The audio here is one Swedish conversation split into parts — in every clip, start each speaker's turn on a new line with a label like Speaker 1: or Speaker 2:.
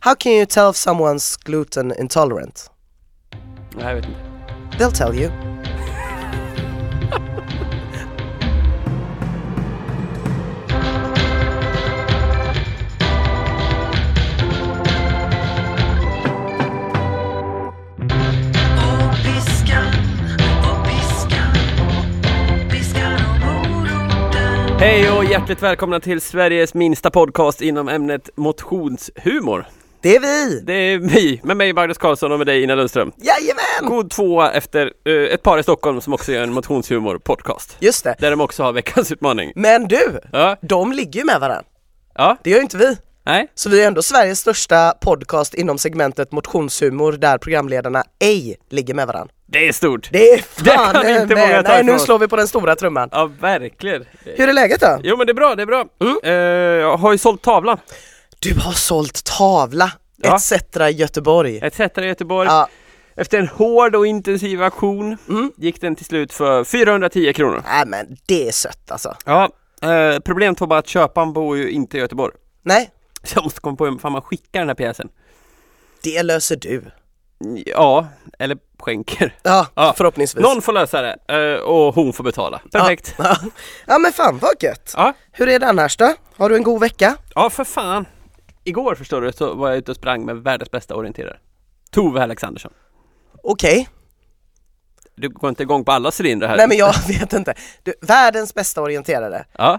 Speaker 1: How can you tell if someone's gluten intolerant?
Speaker 2: Nej, jag vet inte.
Speaker 1: They'll tell you.
Speaker 2: Hej och hjärtligt välkomna till Sveriges minsta podcast inom ämnet motionshumor.
Speaker 1: Det är vi!
Speaker 2: Det är vi, med mig Magnus Karlsson och med dig Ina Lundström.
Speaker 1: Jajamän!
Speaker 2: God tvåa efter eh, ett par i Stockholm som också gör en motionshumor-podcast.
Speaker 1: Just det.
Speaker 2: Där de också har veckans utmaning.
Speaker 1: Men du!
Speaker 2: Ja,
Speaker 1: De ligger ju med varandra.
Speaker 2: ja,
Speaker 1: Det gör ju inte vi.
Speaker 2: nej,
Speaker 1: Så vi är ändå Sveriges största podcast inom segmentet motionshumor där programledarna ej ligger med varandra.
Speaker 2: det är stort.
Speaker 1: Det är
Speaker 2: Det
Speaker 1: fan
Speaker 2: kan inte
Speaker 1: med.
Speaker 2: många ta
Speaker 1: Nej nu
Speaker 2: ifrån oss.
Speaker 1: slår vi på den stora trumman.
Speaker 2: Ja, verkligen.
Speaker 1: Hur är läget då?
Speaker 2: Jo men det är bra, det är bra.
Speaker 1: Mm.
Speaker 2: Eh, jag har ju sålt tavlan,
Speaker 1: Du har sålt tavla,
Speaker 2: Ja.
Speaker 1: etc. Göteborg.
Speaker 2: etc. i Göteborg.
Speaker 1: Ja, Mm.
Speaker 2: Efter en hård och intensiv auktion gick den till slut för 410 kronor.
Speaker 1: nej men det är sött alltså.
Speaker 2: Ja, eh, problemet var bara att köparen bor ju inte i Göteborg.
Speaker 1: Nej,
Speaker 2: Så jag måste komma på hur fan man skickar den här pjäsen.
Speaker 1: det löser du.
Speaker 2: Ja, eller skänker.
Speaker 1: Ja,
Speaker 2: Ja.
Speaker 1: förhoppningsvis.
Speaker 2: Någon får lösa det eh, och hon får betala. Perfekt. Ja,
Speaker 1: Ja. ja men fan vad gött.
Speaker 2: ja.
Speaker 1: Hur är det annars då? Har du en god vecka?
Speaker 2: för fan. Igår förstår du så var jag ute och sprang med världens bästa orienterare. Tove Alexandersson.
Speaker 1: Okej,
Speaker 2: Du går inte igång på alla cylindrar här.
Speaker 1: nej men jag vet inte. Du, världens bästa orienterare.
Speaker 2: Ja,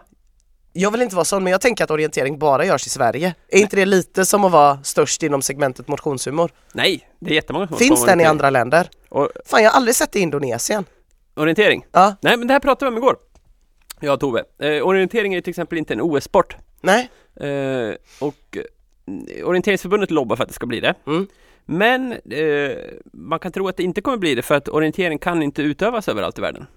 Speaker 1: Jag vill inte vara sån men jag tänker att orientering bara görs i Sverige. Är inte det lite som att vara störst inom segmentet motionshumor?
Speaker 2: nej, det är jättemånga som
Speaker 1: Finns
Speaker 2: som
Speaker 1: den i
Speaker 2: orienterar.
Speaker 1: andra länder?
Speaker 2: Och,
Speaker 1: Fan jag har aldrig sett det i Indonesien.
Speaker 2: orientering?
Speaker 1: Ja,
Speaker 2: Nej, men det här pratade vi om igår. Jag och Tove. Eh, orientering är ju till exempel inte en OS-sport.
Speaker 1: nej,
Speaker 2: Eh, och eh, Orienteringsförbundet lobbar för att det ska bli det.
Speaker 1: Mm.
Speaker 2: Men eh, man kan tro att det inte kommer bli det för att orientering kan inte utövas överallt i världen.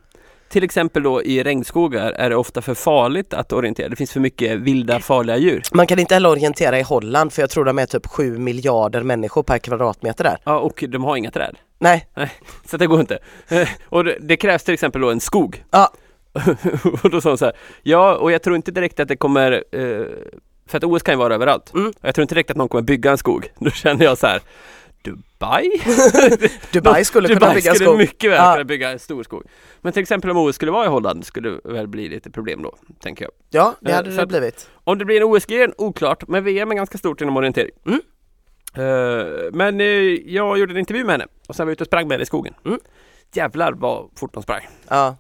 Speaker 2: Till exempel då i regnskogar är det ofta för farligt att orientera. Det finns för mycket vilda farliga djur.
Speaker 1: man kan inte heller orientera i Holland för jag tror de är typ 7 miljarder människor per kvadratmeter där.
Speaker 2: Ja, och de har inga träd.
Speaker 1: Nej,
Speaker 2: Nej, så det går inte. Eh, och det, det krävs till exempel då en skog.
Speaker 1: ja,
Speaker 2: och då sa hon så här, ja, och jag tror inte direkt att det kommer eh, för att OS kan ju vara överallt.
Speaker 1: Mm.
Speaker 2: Och jag tror inte direkt att någon kommer bygga en skog. Då känner jag så här, Dubai?
Speaker 1: Dubai skulle kunna bygga
Speaker 2: skulle
Speaker 1: skog.
Speaker 2: mycket väl
Speaker 1: Ja.
Speaker 2: kunna bygga en stor skog. Men till exempel om OS skulle vara i Holland skulle det väl bli lite problem då, tänker jag.
Speaker 1: Ja, det
Speaker 2: Eh,
Speaker 1: hade
Speaker 2: så
Speaker 1: det
Speaker 2: att-
Speaker 1: blivit.
Speaker 2: Om det blir en OS-gren, oklart, men VM är ganska stort inom orientering.
Speaker 1: Mm.
Speaker 2: Eh, men eh, jag gjorde en intervju med henne och sen var jag ute och sprang med henne i skogen.
Speaker 1: Mm.
Speaker 2: Jävlar vad fort hon sprang.
Speaker 1: Ja,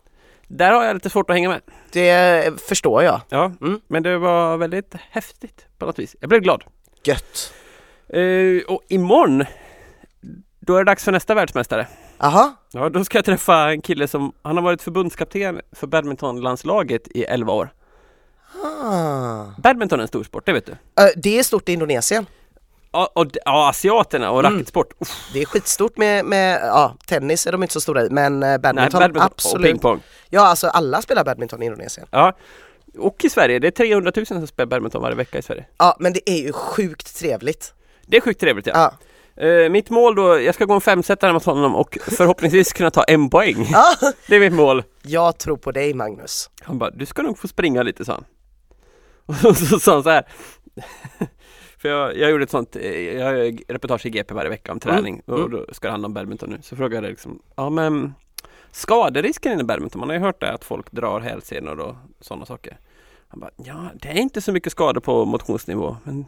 Speaker 2: Där har jag lite svårt att hänga med.
Speaker 1: det eh, förstår jag.
Speaker 2: Ja,
Speaker 1: Mm.
Speaker 2: men det var väldigt häftigt på något vis. Jag blev glad.
Speaker 1: Gött.
Speaker 2: Eh, och imorgon, då är det dags för nästa världsmästare.
Speaker 1: Aha,
Speaker 2: Ja, då ska jag träffa en kille som, han har varit förbundskapten för badmintonlandslaget i 11 år.
Speaker 1: ah.
Speaker 2: Badminton är en stor sport, det vet du.
Speaker 1: Eh, det är stort i Indonesien.
Speaker 2: Ja, och, d- ja asiaterna
Speaker 1: Mm.
Speaker 2: och racketsport. Uff,
Speaker 1: Det är skitstort med, med ja, tennis är de inte så stora i, men eh, badminton,
Speaker 2: nej, badminton och
Speaker 1: absolut.
Speaker 2: pingpong.
Speaker 1: Ja, alltså alla spelar badminton i Indonesien.
Speaker 2: Ja. Och i Sverige, det är 300 000 som spelar badminton varje vecka i Sverige.
Speaker 1: Ja, men det är ju sjukt trevligt.
Speaker 2: Det är sjukt trevligt ja.
Speaker 1: Ja,
Speaker 2: Eh, mitt mål då, jag ska gå en femsetare mot honom och förhoppningsvis kunna ta en poäng.
Speaker 1: Ja.
Speaker 2: Det är mitt mål.
Speaker 1: jag tror på dig Magnus.
Speaker 2: Han bara, du ska nog få springa lite sa han. Och så sa han så här. För jag, jag gjorde ett sånt, eh, jag gör reportage i GP varje vecka om träning
Speaker 1: Mm,
Speaker 2: och då ska det handla om badminton nu. Så frågade jag liksom, ja men skaderisken inom badminton, man har ju hört det att folk drar hälsenor och sådana saker. Han bara, ja det är inte så mycket skador på motionsnivå men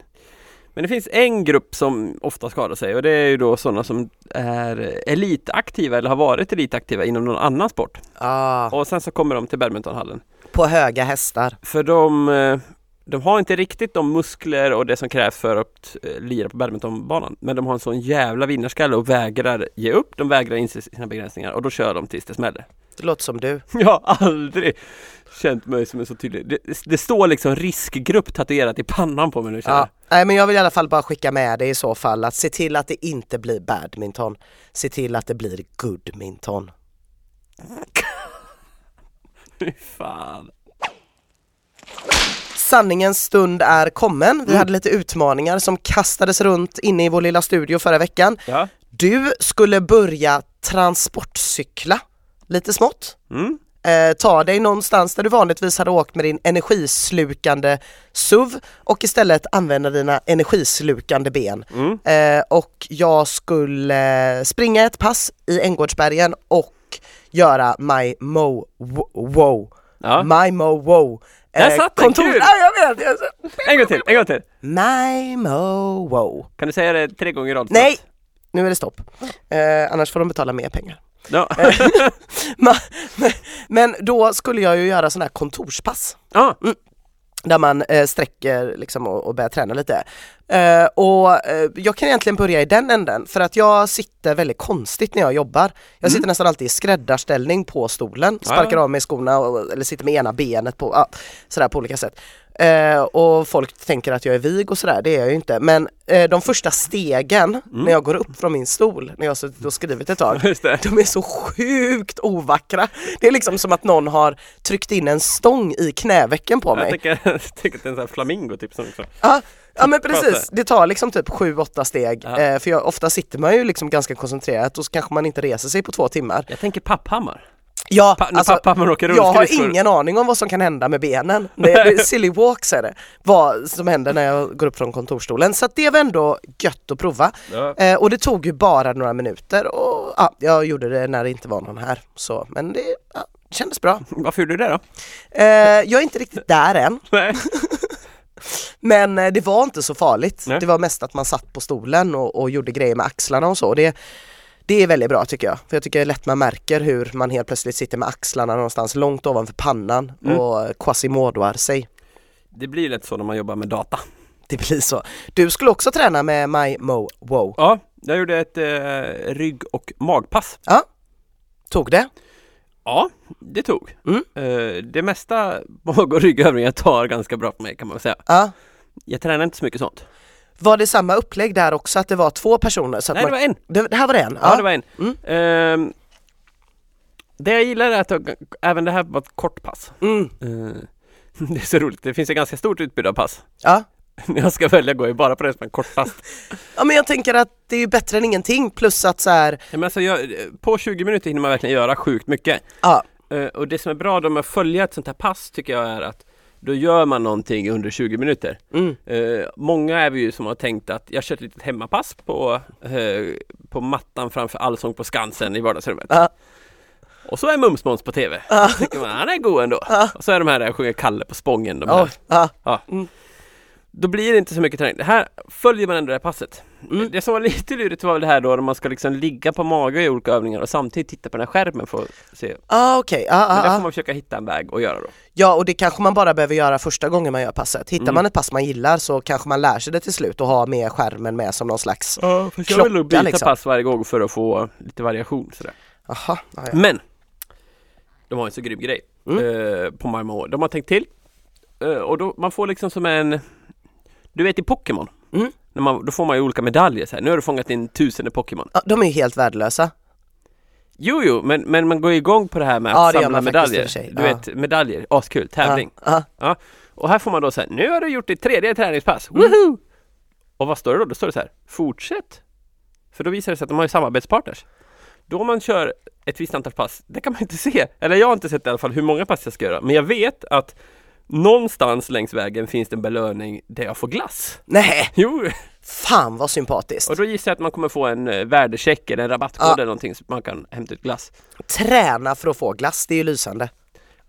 Speaker 2: men det finns en grupp som ofta skadar sig och det är ju då sådana som är elitaktiva eller har varit elitaktiva inom någon annan sport.
Speaker 1: Ja,
Speaker 2: Och sen så kommer de till badmintonhallen
Speaker 1: på höga hästar.
Speaker 2: för de, eh, de har inte riktigt de muskler och det som krävs för att eh, lira på badmintonbanan. Men de har en sån jävla vinnarskalle och vägrar ge upp. De vägrar inse sina begränsningar och då kör de tills det smäller.
Speaker 1: Det låter som du.
Speaker 2: Jag har aldrig känt mig som en så tydlig. Det, det står liksom riskgrupp tatuerat i pannan på mig nu känner
Speaker 1: Ja.
Speaker 2: jag.
Speaker 1: Nej men jag vill i alla fall bara skicka med dig i så fall att se till att det inte blir badminton. Se till att det blir goodminton.
Speaker 2: Fy fan.
Speaker 1: Sanningens stund är kommen. Vi hade lite utmaningar som kastades runt inne i vår lilla studio förra veckan.
Speaker 2: Ja.
Speaker 1: Du skulle börja transportcykla lite smått.
Speaker 2: Mm.
Speaker 1: Eh, ta dig någonstans där du vanligtvis hade åkt med din energislukande SUV och istället använda dina energislukande ben.
Speaker 2: Mm.
Speaker 1: Eh, och jag skulle eh, springa ett pass i Änggårdsbergen och göra my mo wow.
Speaker 2: Ja.
Speaker 1: My mo wow.
Speaker 2: Där satt den, kul!
Speaker 1: Ja, jag vet! Jag sa-
Speaker 2: En gång till, en gång till!
Speaker 1: My mo wow.
Speaker 2: Kan du säga det tre gånger i rad? snabbt?
Speaker 1: Nej! Nu är det stopp. Eh, annars får de betala mer pengar.
Speaker 2: Ja,
Speaker 1: Ma- Men då skulle jag ju göra sådana här kontorspass
Speaker 2: ja.
Speaker 1: där man eh, sträcker liksom, och, och börjar träna lite. Eh, och eh, jag kan egentligen börja i den änden för att jag sitter väldigt konstigt när jag jobbar. Jag sitter nästan alltid i skräddarställning på stolen, sparkar av mig skorna och, eller sitter med ena benet på, ja, sådär på olika sätt. Eh, och folk tänker att jag är vig och sådär, det är jag ju inte. Men eh, de första stegen när jag går upp från min stol, när jag har suttit och skrivit ett tag,
Speaker 2: just det.
Speaker 1: de är så sjukt ovackra. Det är liksom som att någon har tryckt in en stång i knävecken på
Speaker 2: Jag
Speaker 1: mig.
Speaker 2: tänker, jag tänker att det är en sån här flamingo typ som också.
Speaker 1: Ja, ja men precis,
Speaker 2: Fattar.
Speaker 1: det tar liksom typ 7-8 steg.
Speaker 2: Ja.
Speaker 1: Eh, för jag, ofta sitter man ju liksom ganska koncentrerat och så kanske man inte reser sig på två timmar.
Speaker 2: Jag tänker Papphammar.
Speaker 1: Ja,
Speaker 2: Pa- när
Speaker 1: alltså,
Speaker 2: Papphammar åker
Speaker 1: jag har
Speaker 2: rullskridskor.
Speaker 1: ingen aning om vad som kan hända med benen. Det är det är silly walks är det, vad som händer när jag går upp från kontorstolen. Så att det var ändå gött att prova.
Speaker 2: Ja.
Speaker 1: Eh, och det tog ju bara några minuter och ja, jag gjorde det när det inte var någon här. Så, men det ja, kändes bra.
Speaker 2: Varför gjorde du det då?
Speaker 1: Eh, jag är inte riktigt där än.
Speaker 2: Nej.
Speaker 1: Men eh, det var inte så farligt.
Speaker 2: Nej.
Speaker 1: Det var mest att man satt på stolen och, och gjorde grejer med axlarna och så. Och det, det är väldigt bra tycker jag. För jag tycker lätt man märker hur man helt plötsligt sitter med axlarna någonstans långt ovanför pannan
Speaker 2: Mm.
Speaker 1: och quasimodoar sig.
Speaker 2: Det blir lätt så när man jobbar med data.
Speaker 1: Det blir så. Du skulle också träna med My Mo Wow.
Speaker 2: Ja, jag gjorde ett eh, rygg och magpass.
Speaker 1: Tog det?
Speaker 2: Ja, det tog.
Speaker 1: Mm.
Speaker 2: Eh, det mesta mag och ryggövningar tar ganska bra på mig kan man väl säga.
Speaker 1: Ja.
Speaker 2: Jag tränar inte så mycket sånt.
Speaker 1: Var det samma upplägg där också att det var två personer? Så att
Speaker 2: Nej, det
Speaker 1: man...
Speaker 2: var en.
Speaker 1: det, det här var det en?
Speaker 2: Ja, det var en. Ehm, det jag gillar är att jag, även det här var ett kort pass.
Speaker 1: Mm.
Speaker 2: Eh, det är så roligt, det finns ett ganska stort utbud av pass.
Speaker 1: Ja.
Speaker 2: När jag ska välja går jag bara på det som är kortast.
Speaker 1: ja men jag tänker att det är ju bättre än ingenting plus att så här,
Speaker 2: Ja, Men alltså jag, på 20 minuter hinner man verkligen göra sjukt mycket.
Speaker 1: ja,
Speaker 2: Eh, och det som är bra då med att följa ett sånt här pass tycker jag är att då gör man någonting under 20 minuter.
Speaker 1: mm.
Speaker 2: Eh, många är vi ju som har tänkt att jag kör ett litet hemmapass på, eh, på mattan framför Allsång på Skansen i vardagsrummet.
Speaker 1: Ja.
Speaker 2: Och så är Mums Måns på TV. Då tycker man han är god ändå. Och så är de här där jag sjunger Kalle på Spången. De här.
Speaker 1: Oj, Mm. ja.
Speaker 2: Då blir det inte så mycket träning. Det här följer man ändå det här passet.
Speaker 1: Mm.
Speaker 2: Det som var lite lurigt var väl det här då när man ska liksom ligga på mage i olika övningar och samtidigt titta på den här skärmen för att se.
Speaker 1: Ah, okej, ah,
Speaker 2: Men
Speaker 1: ah,
Speaker 2: där
Speaker 1: ah.
Speaker 2: får man försöka hitta en väg och göra då.
Speaker 1: Ja och det kanske man bara behöver göra första gången man gör passet. Hittar
Speaker 2: Mm.
Speaker 1: man ett pass man gillar så kanske man lär sig det till slut och har med skärmen med som någon slags,
Speaker 2: Ja, för
Speaker 1: jag vill nog byta
Speaker 2: byta pass varje gång för att få lite variation sådär.
Speaker 1: aha, ja, ja.
Speaker 2: Men! De har en så grym grej
Speaker 1: Mm.
Speaker 2: eh, på Marmor. De har tänkt till. Eh, och då, man får liksom som en... Du vet i Pokémon?
Speaker 1: Mm.
Speaker 2: När man, då får man ju olika medaljer så här. Nu har du fångat in tusende Pokémon.
Speaker 1: Ja, de är ju helt värdelösa.
Speaker 2: Jo, jo, men, men man går igång på det här med
Speaker 1: Ja,
Speaker 2: att
Speaker 1: det gör
Speaker 2: samla
Speaker 1: man faktiskt i och
Speaker 2: medaljer.
Speaker 1: för sig.
Speaker 2: Du
Speaker 1: Ja.
Speaker 2: vet, medaljer. Askul, tävling.
Speaker 1: Ja, ja.
Speaker 2: Och här får man då så här, nu har du gjort ditt tredje träningspass. Woohoo! Och vad står det då? Då står det så här, fortsätt. För då visar det sig att de har ju samarbetspartners. Då man kör ett visst antal pass, det kan man inte se. Eller jag har inte sett i alla fall hur många pass jag ska göra. Men jag vet att någonstans längs vägen finns det en belöning där jag får glass.
Speaker 1: Nej,
Speaker 2: Jo,
Speaker 1: fan vad sympatiskt.
Speaker 2: och då gissar jag att man kommer få en eh, värdecheck eller en rabattkod
Speaker 1: Ja.
Speaker 2: eller någonting så man kan hämta ut glass.
Speaker 1: Träna för att få glass, det är ju lysande.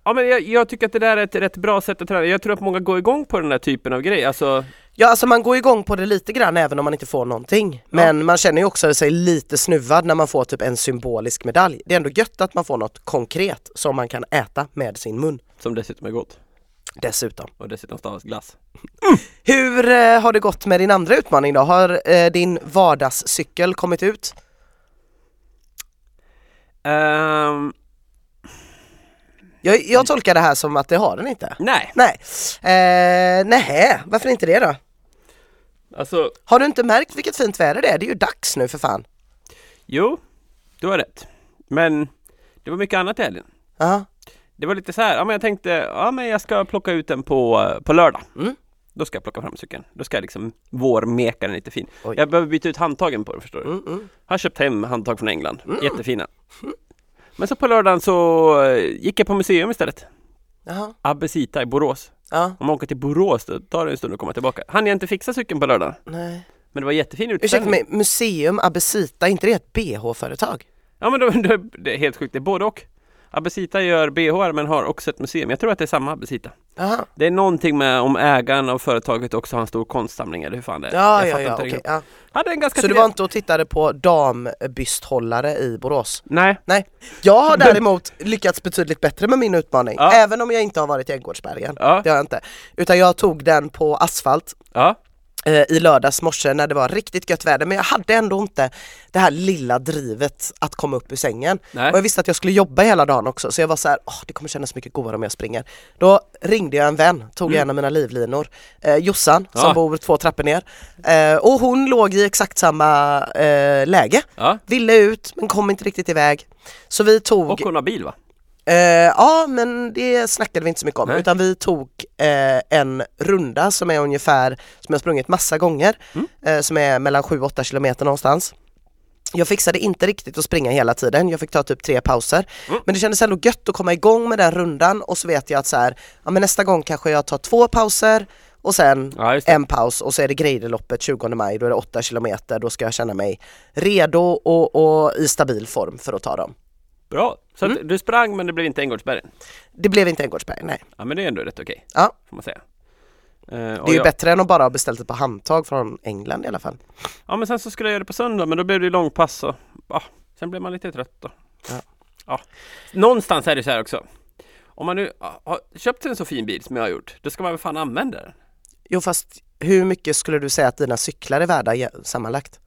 Speaker 2: Ja men jag, jag tycker att det där är ett rätt bra sätt att träna. Jag tror att många går igång på den här typen av grej. Alltså,
Speaker 1: Ja alltså man går igång på det lite grann även om man inte får någonting. Men man känner ju också sig lite snuvad när man får typ en symbolisk medalj. Det är ändå gött att man får något konkret som man kan äta med sin mun
Speaker 2: som dessutom är gott.
Speaker 1: dessutom.
Speaker 2: Och dessutom stavas glass.
Speaker 1: Hur eh, har det gått med din andra utmaning då? Har eh, din vardagscykel kommit ut?
Speaker 2: Ehm,
Speaker 1: Jag, jag tolkar det här som att det har den inte.
Speaker 2: nej,
Speaker 1: Nej. Eh, nej, varför inte det då?
Speaker 2: alltså
Speaker 1: Har du inte märkt vilket fint väder det är? Det är ju dags nu för fan.
Speaker 2: jo, du har rätt. Men det var mycket annat i helgen.
Speaker 1: Ja,
Speaker 2: Det var lite så här, ja men jag tänkte, ja men jag ska plocka ut den på, eh, på lördag.
Speaker 1: Mm.
Speaker 2: Då ska jag plocka fram cykeln. Då ska jag liksom vårmeka den lite fin.
Speaker 1: Oj.
Speaker 2: Jag behöver byta ut handtagen på den förstår du.
Speaker 1: mm, mm.
Speaker 2: Har köpt hem handtag från England, jättefina. Men så på lördagen så eh, gick jag på museum istället.
Speaker 1: Jaha,
Speaker 2: Abbesita i Borås.
Speaker 1: ja,
Speaker 2: Om man åker till Borås då tar det en stund att komma tillbaka. Han jag inte fixa cykeln på lördagen.
Speaker 1: nej.
Speaker 2: Men det var jättefin
Speaker 1: Ursäkta
Speaker 2: utställning.
Speaker 1: mig, Museum Abesita, är inte det ett BH-företag?
Speaker 2: Ja men då, då, det är helt sjukt, det är både och. Abbesita gör BHR men har också ett museum. Jag tror att det är samma Abbesita.
Speaker 1: Jaha,
Speaker 2: Det är någonting med om ägaren av företaget också har en stor konstsamling eller hur fan det är.
Speaker 1: ja,
Speaker 2: Jag
Speaker 1: ja,
Speaker 2: fattar
Speaker 1: ja,
Speaker 2: inte
Speaker 1: okej.
Speaker 2: riktigt.
Speaker 1: ja.
Speaker 2: Hade en ganska
Speaker 1: Så du
Speaker 2: trevlig-
Speaker 1: var inte och tittade på dambysthållare i Borås?
Speaker 2: Nej,
Speaker 1: Nej, jag har däremot lyckats betydligt bättre med min utmaning,
Speaker 2: Ja.
Speaker 1: även om jag inte har varit i Änggårdsbergen.
Speaker 2: Ja.
Speaker 1: Det har jag inte. Utan jag tog den på asfalt
Speaker 2: ja.
Speaker 1: eh, i lördags morse när det var riktigt gött väder, men jag hade ändå inte det här lilla drivet att komma upp ur sängen.
Speaker 2: Nej.
Speaker 1: Och jag visste att jag skulle jobba hela dagen också, så jag var så här, "Åh, det kommer kännas mycket godare om jag springer. Då ringde jag en vän, tog en av mina livlinor, eh, Jossan, som
Speaker 2: Mm. Ja.
Speaker 1: bor två trappor ner. Eh, och hon låg i exakt samma eh, läge.
Speaker 2: ja.
Speaker 1: Ville ut men kom inte riktigt iväg. Så vi tog,
Speaker 2: Och hon har bil va?
Speaker 1: eh, ja men det snackade vi inte så mycket om
Speaker 2: Nej.
Speaker 1: utan vi tog eh, en runda som är ungefär, som jag sprungit massa gånger,
Speaker 2: Mm.
Speaker 1: eh, som är mellan 7-8 kilometer någonstans. Jag fixade inte riktigt att springa hela tiden, jag fick ta typ tre pauser.
Speaker 2: Mm.
Speaker 1: Men det kändes ändå gött att komma igång med den rundan och så vet jag att så här, ja, men nästa gång kanske jag tar två pauser och sen
Speaker 2: Ja, just det.
Speaker 1: en paus och så är det Greideloppet 20 maj, då är det 8 kilometer, då ska jag känna mig redo och, och i stabil form för att ta dem.
Speaker 2: Bra. Så
Speaker 1: Mm.
Speaker 2: att du sprang men det blev inte Änggårdsbergen.
Speaker 1: Det blev inte Änggårdsberg, nej.
Speaker 2: Ja men det är ändå rätt okej,
Speaker 1: Ja,
Speaker 2: får man säga. Eh, och
Speaker 1: det är ju
Speaker 2: jag-
Speaker 1: bättre än att bara ha beställt ett par handtag från England i alla fall.
Speaker 2: Ja men sen så skulle jag göra det på söndag men då blev det ju långpass och ah, sen blev man lite trött då.
Speaker 1: Ja.
Speaker 2: Ja. Någonstans är det så här också. Om man nu ah, har köpt en så fin bil som jag har gjort, då ska man väl fan använda den?
Speaker 1: Jo fast hur mycket skulle du säga att dina cyklar är värda ge- sammanlagt?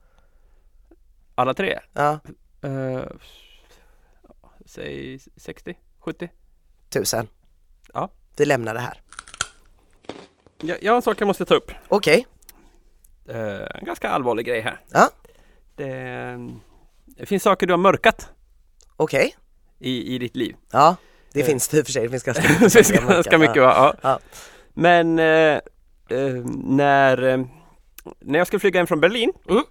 Speaker 2: Alla tre?
Speaker 1: Ja,
Speaker 2: Eh, säg 60, 70?
Speaker 1: tusen.
Speaker 2: Ja.
Speaker 1: Vi lämnar det här.
Speaker 2: Jag, jag har en sak jag måste ta upp.
Speaker 1: Okej,
Speaker 2: Eh, en ganska allvarlig grej här.
Speaker 1: Ja.
Speaker 2: Det, det finns saker du har mörkat
Speaker 1: okej.
Speaker 2: i, i ditt liv.
Speaker 1: Ja, det
Speaker 2: Eh.
Speaker 1: finns det i och för sig. Det finns ganska
Speaker 2: Det finns
Speaker 1: saker jag mörkat,
Speaker 2: ganska mycket
Speaker 1: ja.
Speaker 2: va? Ja.
Speaker 1: Ja.
Speaker 2: Men eh, eh, när, eh, när jag skulle flyga hem från Berlin
Speaker 1: Mm.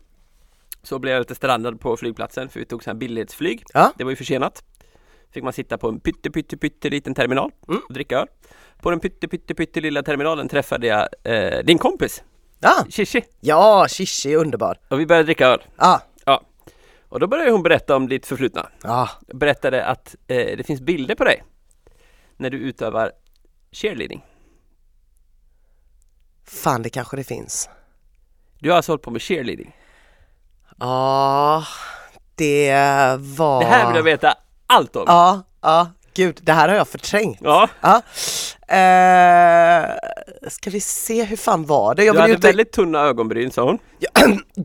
Speaker 2: så blev jag lite strandad på flygplatsen för vi tog sån här billighetsflyg.
Speaker 1: Ja.
Speaker 2: Det var ju försenat. Fick man sitta på en pytte pytte pytte liten terminal
Speaker 1: Mm.
Speaker 2: och dricka öl. På den pytte pytte pytte lilla terminalen träffade jag eh, din kompis
Speaker 1: Ja,
Speaker 2: Shishi
Speaker 1: ja Shishi är underbar.
Speaker 2: och vi började dricka öl.
Speaker 1: Ja,
Speaker 2: Och då började hon berätta om ditt förflutna.
Speaker 1: ja.
Speaker 2: Berättade att eh, det finns bilder på dig när du utövar cheerleading.
Speaker 1: Fan det kanske det finns.
Speaker 2: Du har alltså hållit på med cheerleading.
Speaker 1: Ja, det var...
Speaker 2: Det här vill jag veta allt om.
Speaker 1: Ja, ja, gud, det här har jag förträngt.
Speaker 2: Ja,
Speaker 1: Ja. Eh, ska vi se, hur fan var det? Jag
Speaker 2: du
Speaker 1: vill
Speaker 2: hade
Speaker 1: ju inte...
Speaker 2: väldigt tunna ögonbryn sa hon.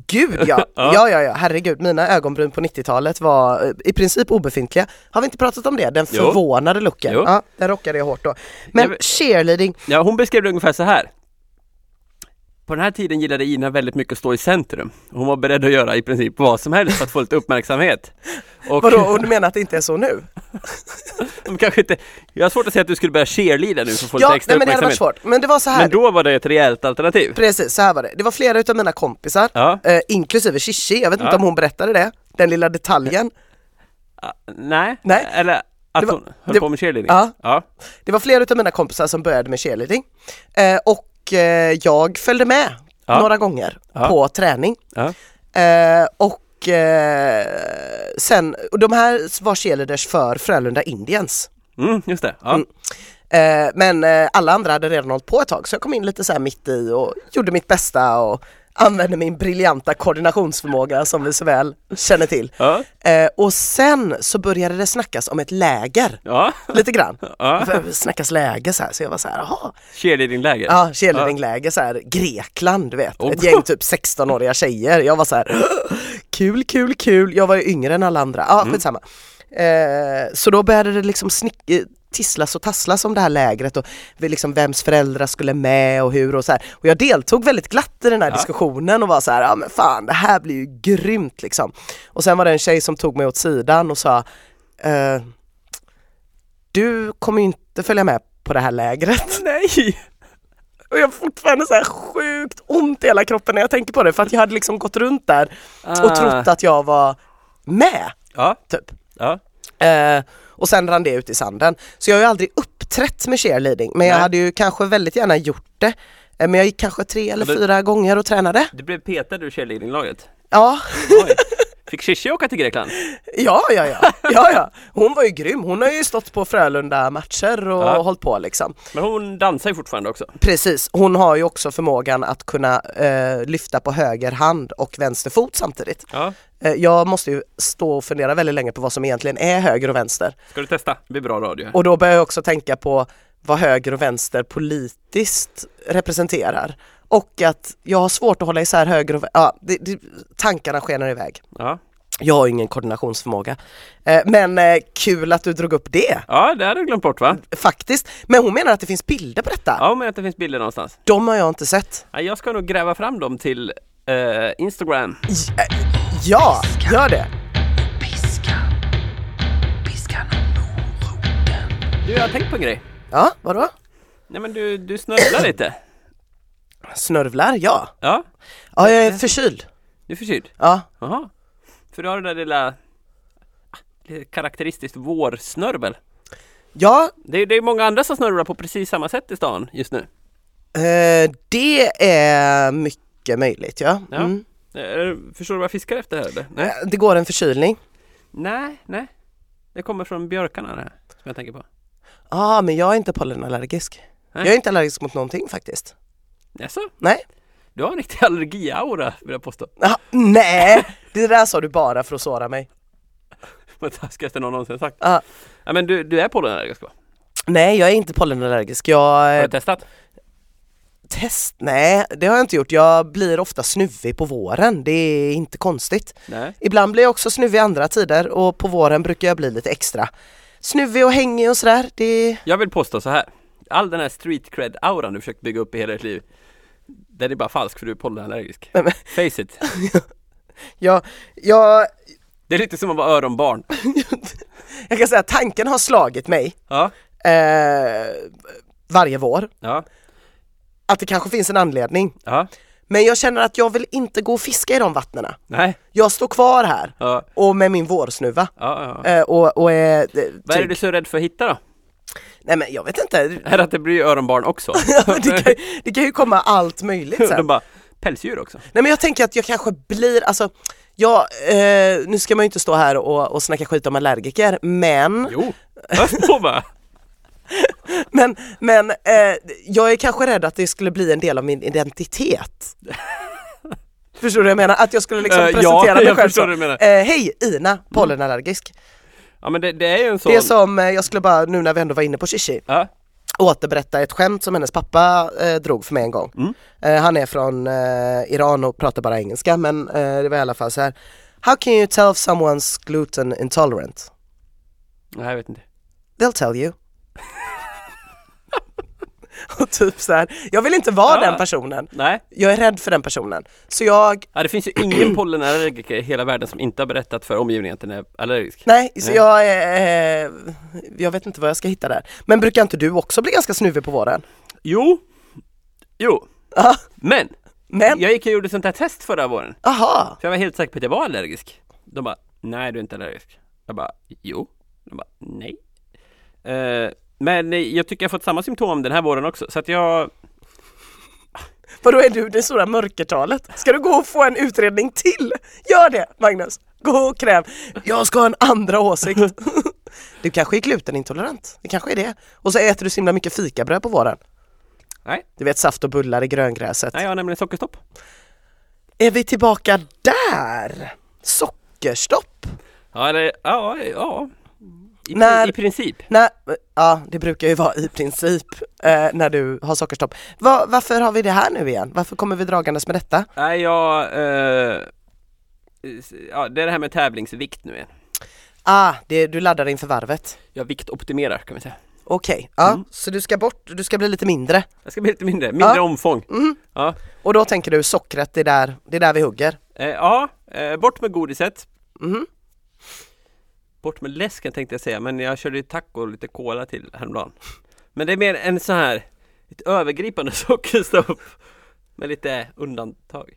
Speaker 1: Gud ja.
Speaker 2: Ja.
Speaker 1: ja, ja, ja, herregud, mina ögonbryn på 90-talet var eh, i princip obefintliga. Har vi inte pratat om det? Den
Speaker 2: Jo.
Speaker 1: förvånade looken.
Speaker 2: Jo.
Speaker 1: Ja, den rockade jag hårt då. Men
Speaker 2: Jag vill-
Speaker 1: cheerleading,
Speaker 2: Ja, hon beskrev det ungefär så här. På den här tiden gillade Ina väldigt mycket att stå i centrum. Hon var beredd att göra i princip vad som helst för att få lite uppmärksamhet. Och
Speaker 1: vadå, och du menar att det inte är så nu?
Speaker 2: de kanske inte, jag har svårt att säga att du skulle börja cheerleada nu för att få lite
Speaker 1: Ja,
Speaker 2: extra
Speaker 1: nej, men det hade varit
Speaker 2: uppmärksamhet.
Speaker 1: svårt. Men det var så här,
Speaker 2: men då var det ett rejält alternativ.
Speaker 1: precis så här var det. Det var flera utav mina kompisar,
Speaker 2: Ja.
Speaker 1: eh, inklusive Shishi, jag vet inte
Speaker 2: Ja.
Speaker 1: om hon berättade det, den lilla detaljen.
Speaker 2: Ah, nej.
Speaker 1: Nej.
Speaker 2: eller att
Speaker 1: Det var-
Speaker 2: hon höll
Speaker 1: det-
Speaker 2: på med cheerleading.
Speaker 1: Ja.
Speaker 2: ja.
Speaker 1: Det var flera utav mina kompisar som började med cheerleading eh, och eh, jag följde med
Speaker 2: Ja.
Speaker 1: några gånger
Speaker 2: Ja.
Speaker 1: på träning.
Speaker 2: ja.
Speaker 1: Eh, och eh, sen, och de här var cheerleaders för Frölunda Indians.
Speaker 2: Mm, just det. Ja.
Speaker 1: Mm. Eh, men eh, alla andra hade redan hållit på ett tag så jag kom in lite så här mitt i och gjorde mitt bästa och använde min briljanta koordinationsförmåga som vi så väl känner till.
Speaker 2: Ja.
Speaker 1: Eh, och sen så började det snackas om ett läger,
Speaker 2: Ja.
Speaker 1: lite grann.
Speaker 2: ja.
Speaker 1: Det Snackas läger så här, så jag var så här, jaha,
Speaker 2: Cheerleadingläger.
Speaker 1: Ja, cheerleadingläger så här Grekland du vet.
Speaker 2: Oh.
Speaker 1: Ett gäng typ 16-åriga tjejer. Jag var så här kul, kul, kul. Jag var ju yngre än alla andra. Ja, skitsamma. Eh, så då började det liksom snick- eh, tisslas och tasslas om det här lägret och vi- liksom vems föräldrar skulle med och hur och så här. Och jag deltog väldigt glatt i den här diskussionen och var så här, ja men fan det här blir ju grymt liksom. Och sen var det en tjej som tog mig åt sidan och sa, eh, du kommer ju inte följa med på det här lägret.
Speaker 2: Nej!
Speaker 1: Och jag har fortfarande så här sjukt ont i hela kroppen när jag tänker på det för att jag hade liksom gått runt där och
Speaker 2: Ah.
Speaker 1: trott att jag var med.
Speaker 2: Ja.
Speaker 1: Typ.
Speaker 2: Ja.
Speaker 1: Eh, och sen rann det ut i sanden. Så jag har ju aldrig uppträtt med cheerleading men jag
Speaker 2: Nej.
Speaker 1: hade ju kanske väldigt gärna gjort det. Eh, Men jag gick kanske tre eller
Speaker 2: Ja, du-
Speaker 1: fyra gånger och tränade.
Speaker 2: Du blev petad ur cheerleadinglaget.
Speaker 1: Ja,
Speaker 2: Oj. Fick Shishi åka till Grekland?
Speaker 1: ja, ja, ja. ja, ja. Hon var ju grym, hon har ju stått på Frölunda-matcher och
Speaker 2: Ja.
Speaker 1: hållit på liksom.
Speaker 2: Men hon dansar ju fortfarande också.
Speaker 1: Precis, hon har ju också förmågan att kunna eh, lyfta på höger hand och vänster fot samtidigt.
Speaker 2: Ja.
Speaker 1: Eh, jag måste ju stå och fundera väldigt länge på vad som egentligen är höger och vänster.
Speaker 2: Ska du testa? Det blir bra radio. här.
Speaker 1: Och då börjar jag också tänka på vad höger och vänster politiskt representerar. Och att jag har svårt att hålla isär höger och vänster. Ja, det, det, tankarna skenar iväg.
Speaker 2: Ja.
Speaker 1: Jag har ingen koordinationsförmåga. Eh, men eh, kul att du drog upp det
Speaker 2: ja, det hade du glömt bort va?
Speaker 1: faktiskt. Men hon menar att det finns bilder på detta.
Speaker 2: Ja, men att det finns bilder någonstans.
Speaker 1: De har jag inte sett.
Speaker 2: Ja, jag ska nog gräva fram dem till eh, Instagram.
Speaker 1: J- eh, ja, gör det.
Speaker 3: Piska. Piska någon moroten.
Speaker 2: Du, jag har tänkt på en grej.
Speaker 1: Ja, vadå?
Speaker 2: Nej men du, du snörvlar lite.
Speaker 1: Snörvlar, ja.
Speaker 2: Ja,
Speaker 1: Ja, jag är förkyld.
Speaker 2: du är förkyld.
Speaker 1: Ja,
Speaker 2: Jaha. För du har det där lilla ah, lite karaktäristiskt vårsnörvel.
Speaker 1: ja
Speaker 2: Det är, det är många andra som snörvlar på precis samma sätt i stan just nu.
Speaker 1: eh, det är mycket möjligt ja.
Speaker 2: Ja.
Speaker 1: Mm.
Speaker 2: Eh, Förstår du vad jag fiskar efter här eller? Nej,
Speaker 1: Eh, Det går en förkylning.
Speaker 2: nej. nej. Det kommer från björkarna det här, som jag tänker på.
Speaker 1: Ja, men jag är inte pollenallergisk.
Speaker 2: Nej.
Speaker 1: Jag är inte allergisk mot någonting faktiskt.
Speaker 2: Jaså?
Speaker 1: Nej.
Speaker 2: Du har en riktig allergiaura vill jag påstå.
Speaker 1: Ah, nej, det där sa du bara för att såra mig.
Speaker 2: Vad taskigaste någon någonsin sagt.
Speaker 1: Ja.
Speaker 2: Ja, men du, du är pollenallergisk va?
Speaker 1: Nej, jag är inte pollenallergisk. Jag...
Speaker 2: Har du
Speaker 1: eh,
Speaker 2: testat?
Speaker 1: Test? Nej, det har jag inte gjort. Jag blir ofta snuvig på våren. Det är inte konstigt.
Speaker 2: Nej.
Speaker 1: Ibland blir jag också snuvig andra tider och på våren brukar jag bli lite extra snuvig och hängig och sådär. Det...
Speaker 2: Jag vill påstå så här. All den här street cred auran du försökt bygga upp i hela ditt liv. Den är bara falsk för du är pollenallergisk.
Speaker 1: Nej, men-
Speaker 2: Face it.
Speaker 1: Jag, jag,
Speaker 2: Det är lite som att vara öronbarn.
Speaker 1: jag kan säga att tanken har slagit mig
Speaker 2: Ja.
Speaker 1: eh, varje vår.
Speaker 2: Ja.
Speaker 1: Att det kanske finns en anledning.
Speaker 2: Ja.
Speaker 1: Men jag känner att jag vill inte gå och fiska i de vattnena.
Speaker 2: Nej.
Speaker 1: Jag står kvar här
Speaker 2: Ja.
Speaker 1: och med min vårsnuva.
Speaker 2: Ja, ja.
Speaker 1: Eh, och, och är, eh,
Speaker 2: Vad är
Speaker 1: trygg.
Speaker 2: du så rädd för att hitta då?
Speaker 1: Nej men jag vet inte.
Speaker 2: Är det att det blir öronbarn också?
Speaker 1: det, kan, det kan ju komma allt möjligt sen.
Speaker 2: De bara, pälsdjur också?
Speaker 1: Nej men jag tänker att jag kanske blir, alltså Ja, eh, nu ska man ju inte stå här och, och snacka skit om allergiker, men,
Speaker 2: Jo, hörs på bara!
Speaker 1: men, men eh, jag är kanske rädd att det skulle bli en del av min identitet. förstår du vad jag menar? Att jag skulle liksom
Speaker 2: Eh, ja,
Speaker 1: presentera mig
Speaker 2: jag
Speaker 1: själv
Speaker 2: förstår
Speaker 1: så.
Speaker 2: vad du menar. Mm.
Speaker 1: Eh, Hej Ina, pollenallergisk.
Speaker 2: Ja men det, det är ju en sån...
Speaker 1: Det är som, eh, jag skulle bara, nu när vi ändå var inne på Shishi,
Speaker 2: Ja,
Speaker 1: återberätta ett skämt som hennes pappa eh, drog för mig en gång.
Speaker 2: Mm.
Speaker 1: Eh, han är från eh, Iran och pratar bara engelska men eh, det var i alla fall så här. How can you tell if someone's gluten intolerant?
Speaker 2: nej jag vet inte.
Speaker 1: They'll tell you. och typ så här. jag vill inte vara
Speaker 2: Ja.
Speaker 1: den personen.
Speaker 2: Nej,
Speaker 1: Jag är rädd för den personen. Så jag,
Speaker 2: ja, det finns ju ingen pollenallergiker i hela världen som inte har berättat för omgivningen att den är allergisk.
Speaker 1: nej, så
Speaker 2: Nej.
Speaker 1: jag, eh, eh, jag vet inte vad jag ska hitta där. Men brukar inte du också bli ganska snuvig på våren?
Speaker 2: Jo, jo,
Speaker 1: Ja,
Speaker 2: men!
Speaker 1: men,
Speaker 2: Jag gick och gjorde sånt här test förra våren,
Speaker 1: aha,
Speaker 2: för jag var helt säker på att jag var allergisk. De bara, nej du är inte allergisk. Jag bara, jo. De bara, nej. Eh, men eh, jag tycker jag fått samma symptom den här våren också, så att jag
Speaker 1: Vadå är du det stora mörkertalet? Ska du gå och få en utredning till? Gör det Magnus! Gå och kräv, jag ska ha en andra åsikt. Du kanske är glutenintolerant, det kanske är det. Och så äter du så himla mycket fikabröd på våren.
Speaker 2: Nej.
Speaker 1: Du vet saft och bullar i gröngräset.
Speaker 2: Nej, jag har nämligen sockerstopp.
Speaker 1: Är vi tillbaka där? Sockerstopp?
Speaker 2: Ja, eller, ja, ja. I,
Speaker 1: När-
Speaker 2: I princip.
Speaker 1: Nej, ja det brukar ju vara i princip eh, när du har sockerstopp. Va, varför har vi det här nu igen? Varför kommer vi dragandes med detta?
Speaker 2: Nej, jag... Eh, s- ja, det är det här med tävlingsvikt nu igen.
Speaker 1: Ah, det, du laddar inför varvet.
Speaker 2: Jag viktoptimerar kan vi säga.
Speaker 1: Okej, ja.
Speaker 2: Mm.
Speaker 1: Så du ska bort, du ska bli lite mindre.
Speaker 2: Jag ska bli lite mindre, mindre
Speaker 1: Ja. Mhm.
Speaker 2: omfång. Ja,
Speaker 1: Och då tänker du sockret, det är där, det är där vi hugger.
Speaker 2: eh, ja eh, bort med godiset.
Speaker 1: Mhm.
Speaker 2: Bort med läsken tänkte jag säga, men jag körde ju taco och lite cola till häromdagen. Men det är mer en så här, ett övergripande sockerstopp. Med lite undantag.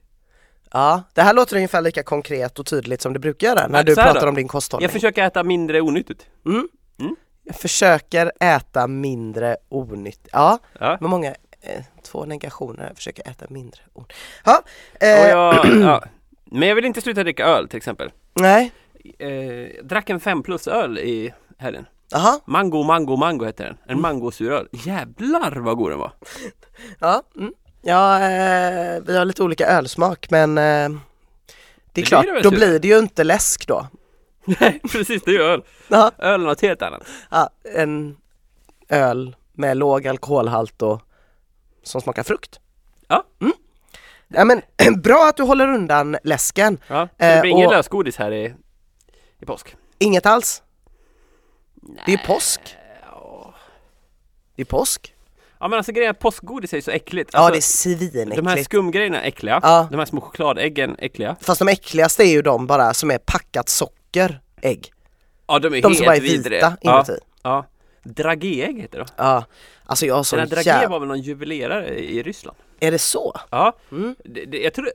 Speaker 1: Ja, det här låter ungefär lika konkret och tydligt som det brukar göra när
Speaker 2: Men
Speaker 1: du
Speaker 2: så här
Speaker 1: pratar
Speaker 2: då.
Speaker 1: om din kosthållning.
Speaker 2: Jag försöker äta mindre onyttigt.
Speaker 1: Mm.
Speaker 2: Mm.
Speaker 1: Jag försöker äta mindre onyttigt. Ja,
Speaker 2: Ja.
Speaker 1: men många, eh, två negationer, jag försöker äta mindre onyttigt. Ja, eh,
Speaker 2: Och jag, ja. Men jag vill inte sluta dricka öl till exempel.
Speaker 1: nej,
Speaker 2: Eh, jag drack en 5 plus öl i helgen.
Speaker 1: jaha,
Speaker 2: Mango, mango, mango hette den.
Speaker 1: Mm.
Speaker 2: En mangosuröl. Jävlar vad god den var!
Speaker 1: ja. Mm. Ja, eh, vi har lite olika ölsmak men eh, det är
Speaker 2: blir
Speaker 1: klart,
Speaker 2: det väl typ.
Speaker 1: då
Speaker 2: sur.
Speaker 1: blir det ju inte läsk då.
Speaker 2: Nej precis, det är ju öl.
Speaker 1: Ja,
Speaker 2: Öl är något helt annat.
Speaker 1: ja, en öl med låg alkoholhalt och som smakar frukt.
Speaker 2: Ja.
Speaker 1: Mm. ja men bra att du håller undan läsken.
Speaker 2: Ja. Så det
Speaker 1: Eh,
Speaker 2: blir ingen
Speaker 1: och-
Speaker 2: lösgodis här i, i påsk.
Speaker 1: Inget alls? Det är påsk. Det är påsk.
Speaker 2: Ja men alltså grejen är att påskgodis är ju så äckligt.
Speaker 1: Ja
Speaker 2: alltså,
Speaker 1: det är svinäckligt.
Speaker 2: De här skumgrejerna är äckliga.
Speaker 1: Ja.
Speaker 2: De här små chokladäggen är äckliga.
Speaker 1: Fast de äckligaste är ju de bara som är packat socker, ägg.
Speaker 2: Ja de är
Speaker 1: De
Speaker 2: helt
Speaker 1: som bara är
Speaker 2: vidriga.
Speaker 1: vita
Speaker 2: Ja.
Speaker 1: inuti. Ja.
Speaker 2: ja. Dragéägg heter det.
Speaker 1: Alltså jag har
Speaker 2: Den här
Speaker 1: sån
Speaker 2: Dragé
Speaker 1: jävla...
Speaker 2: var väl någon juvelerare i Ryssland?
Speaker 1: Är det så?
Speaker 2: Ja.
Speaker 1: Mm.
Speaker 2: Det, det, jag tror det-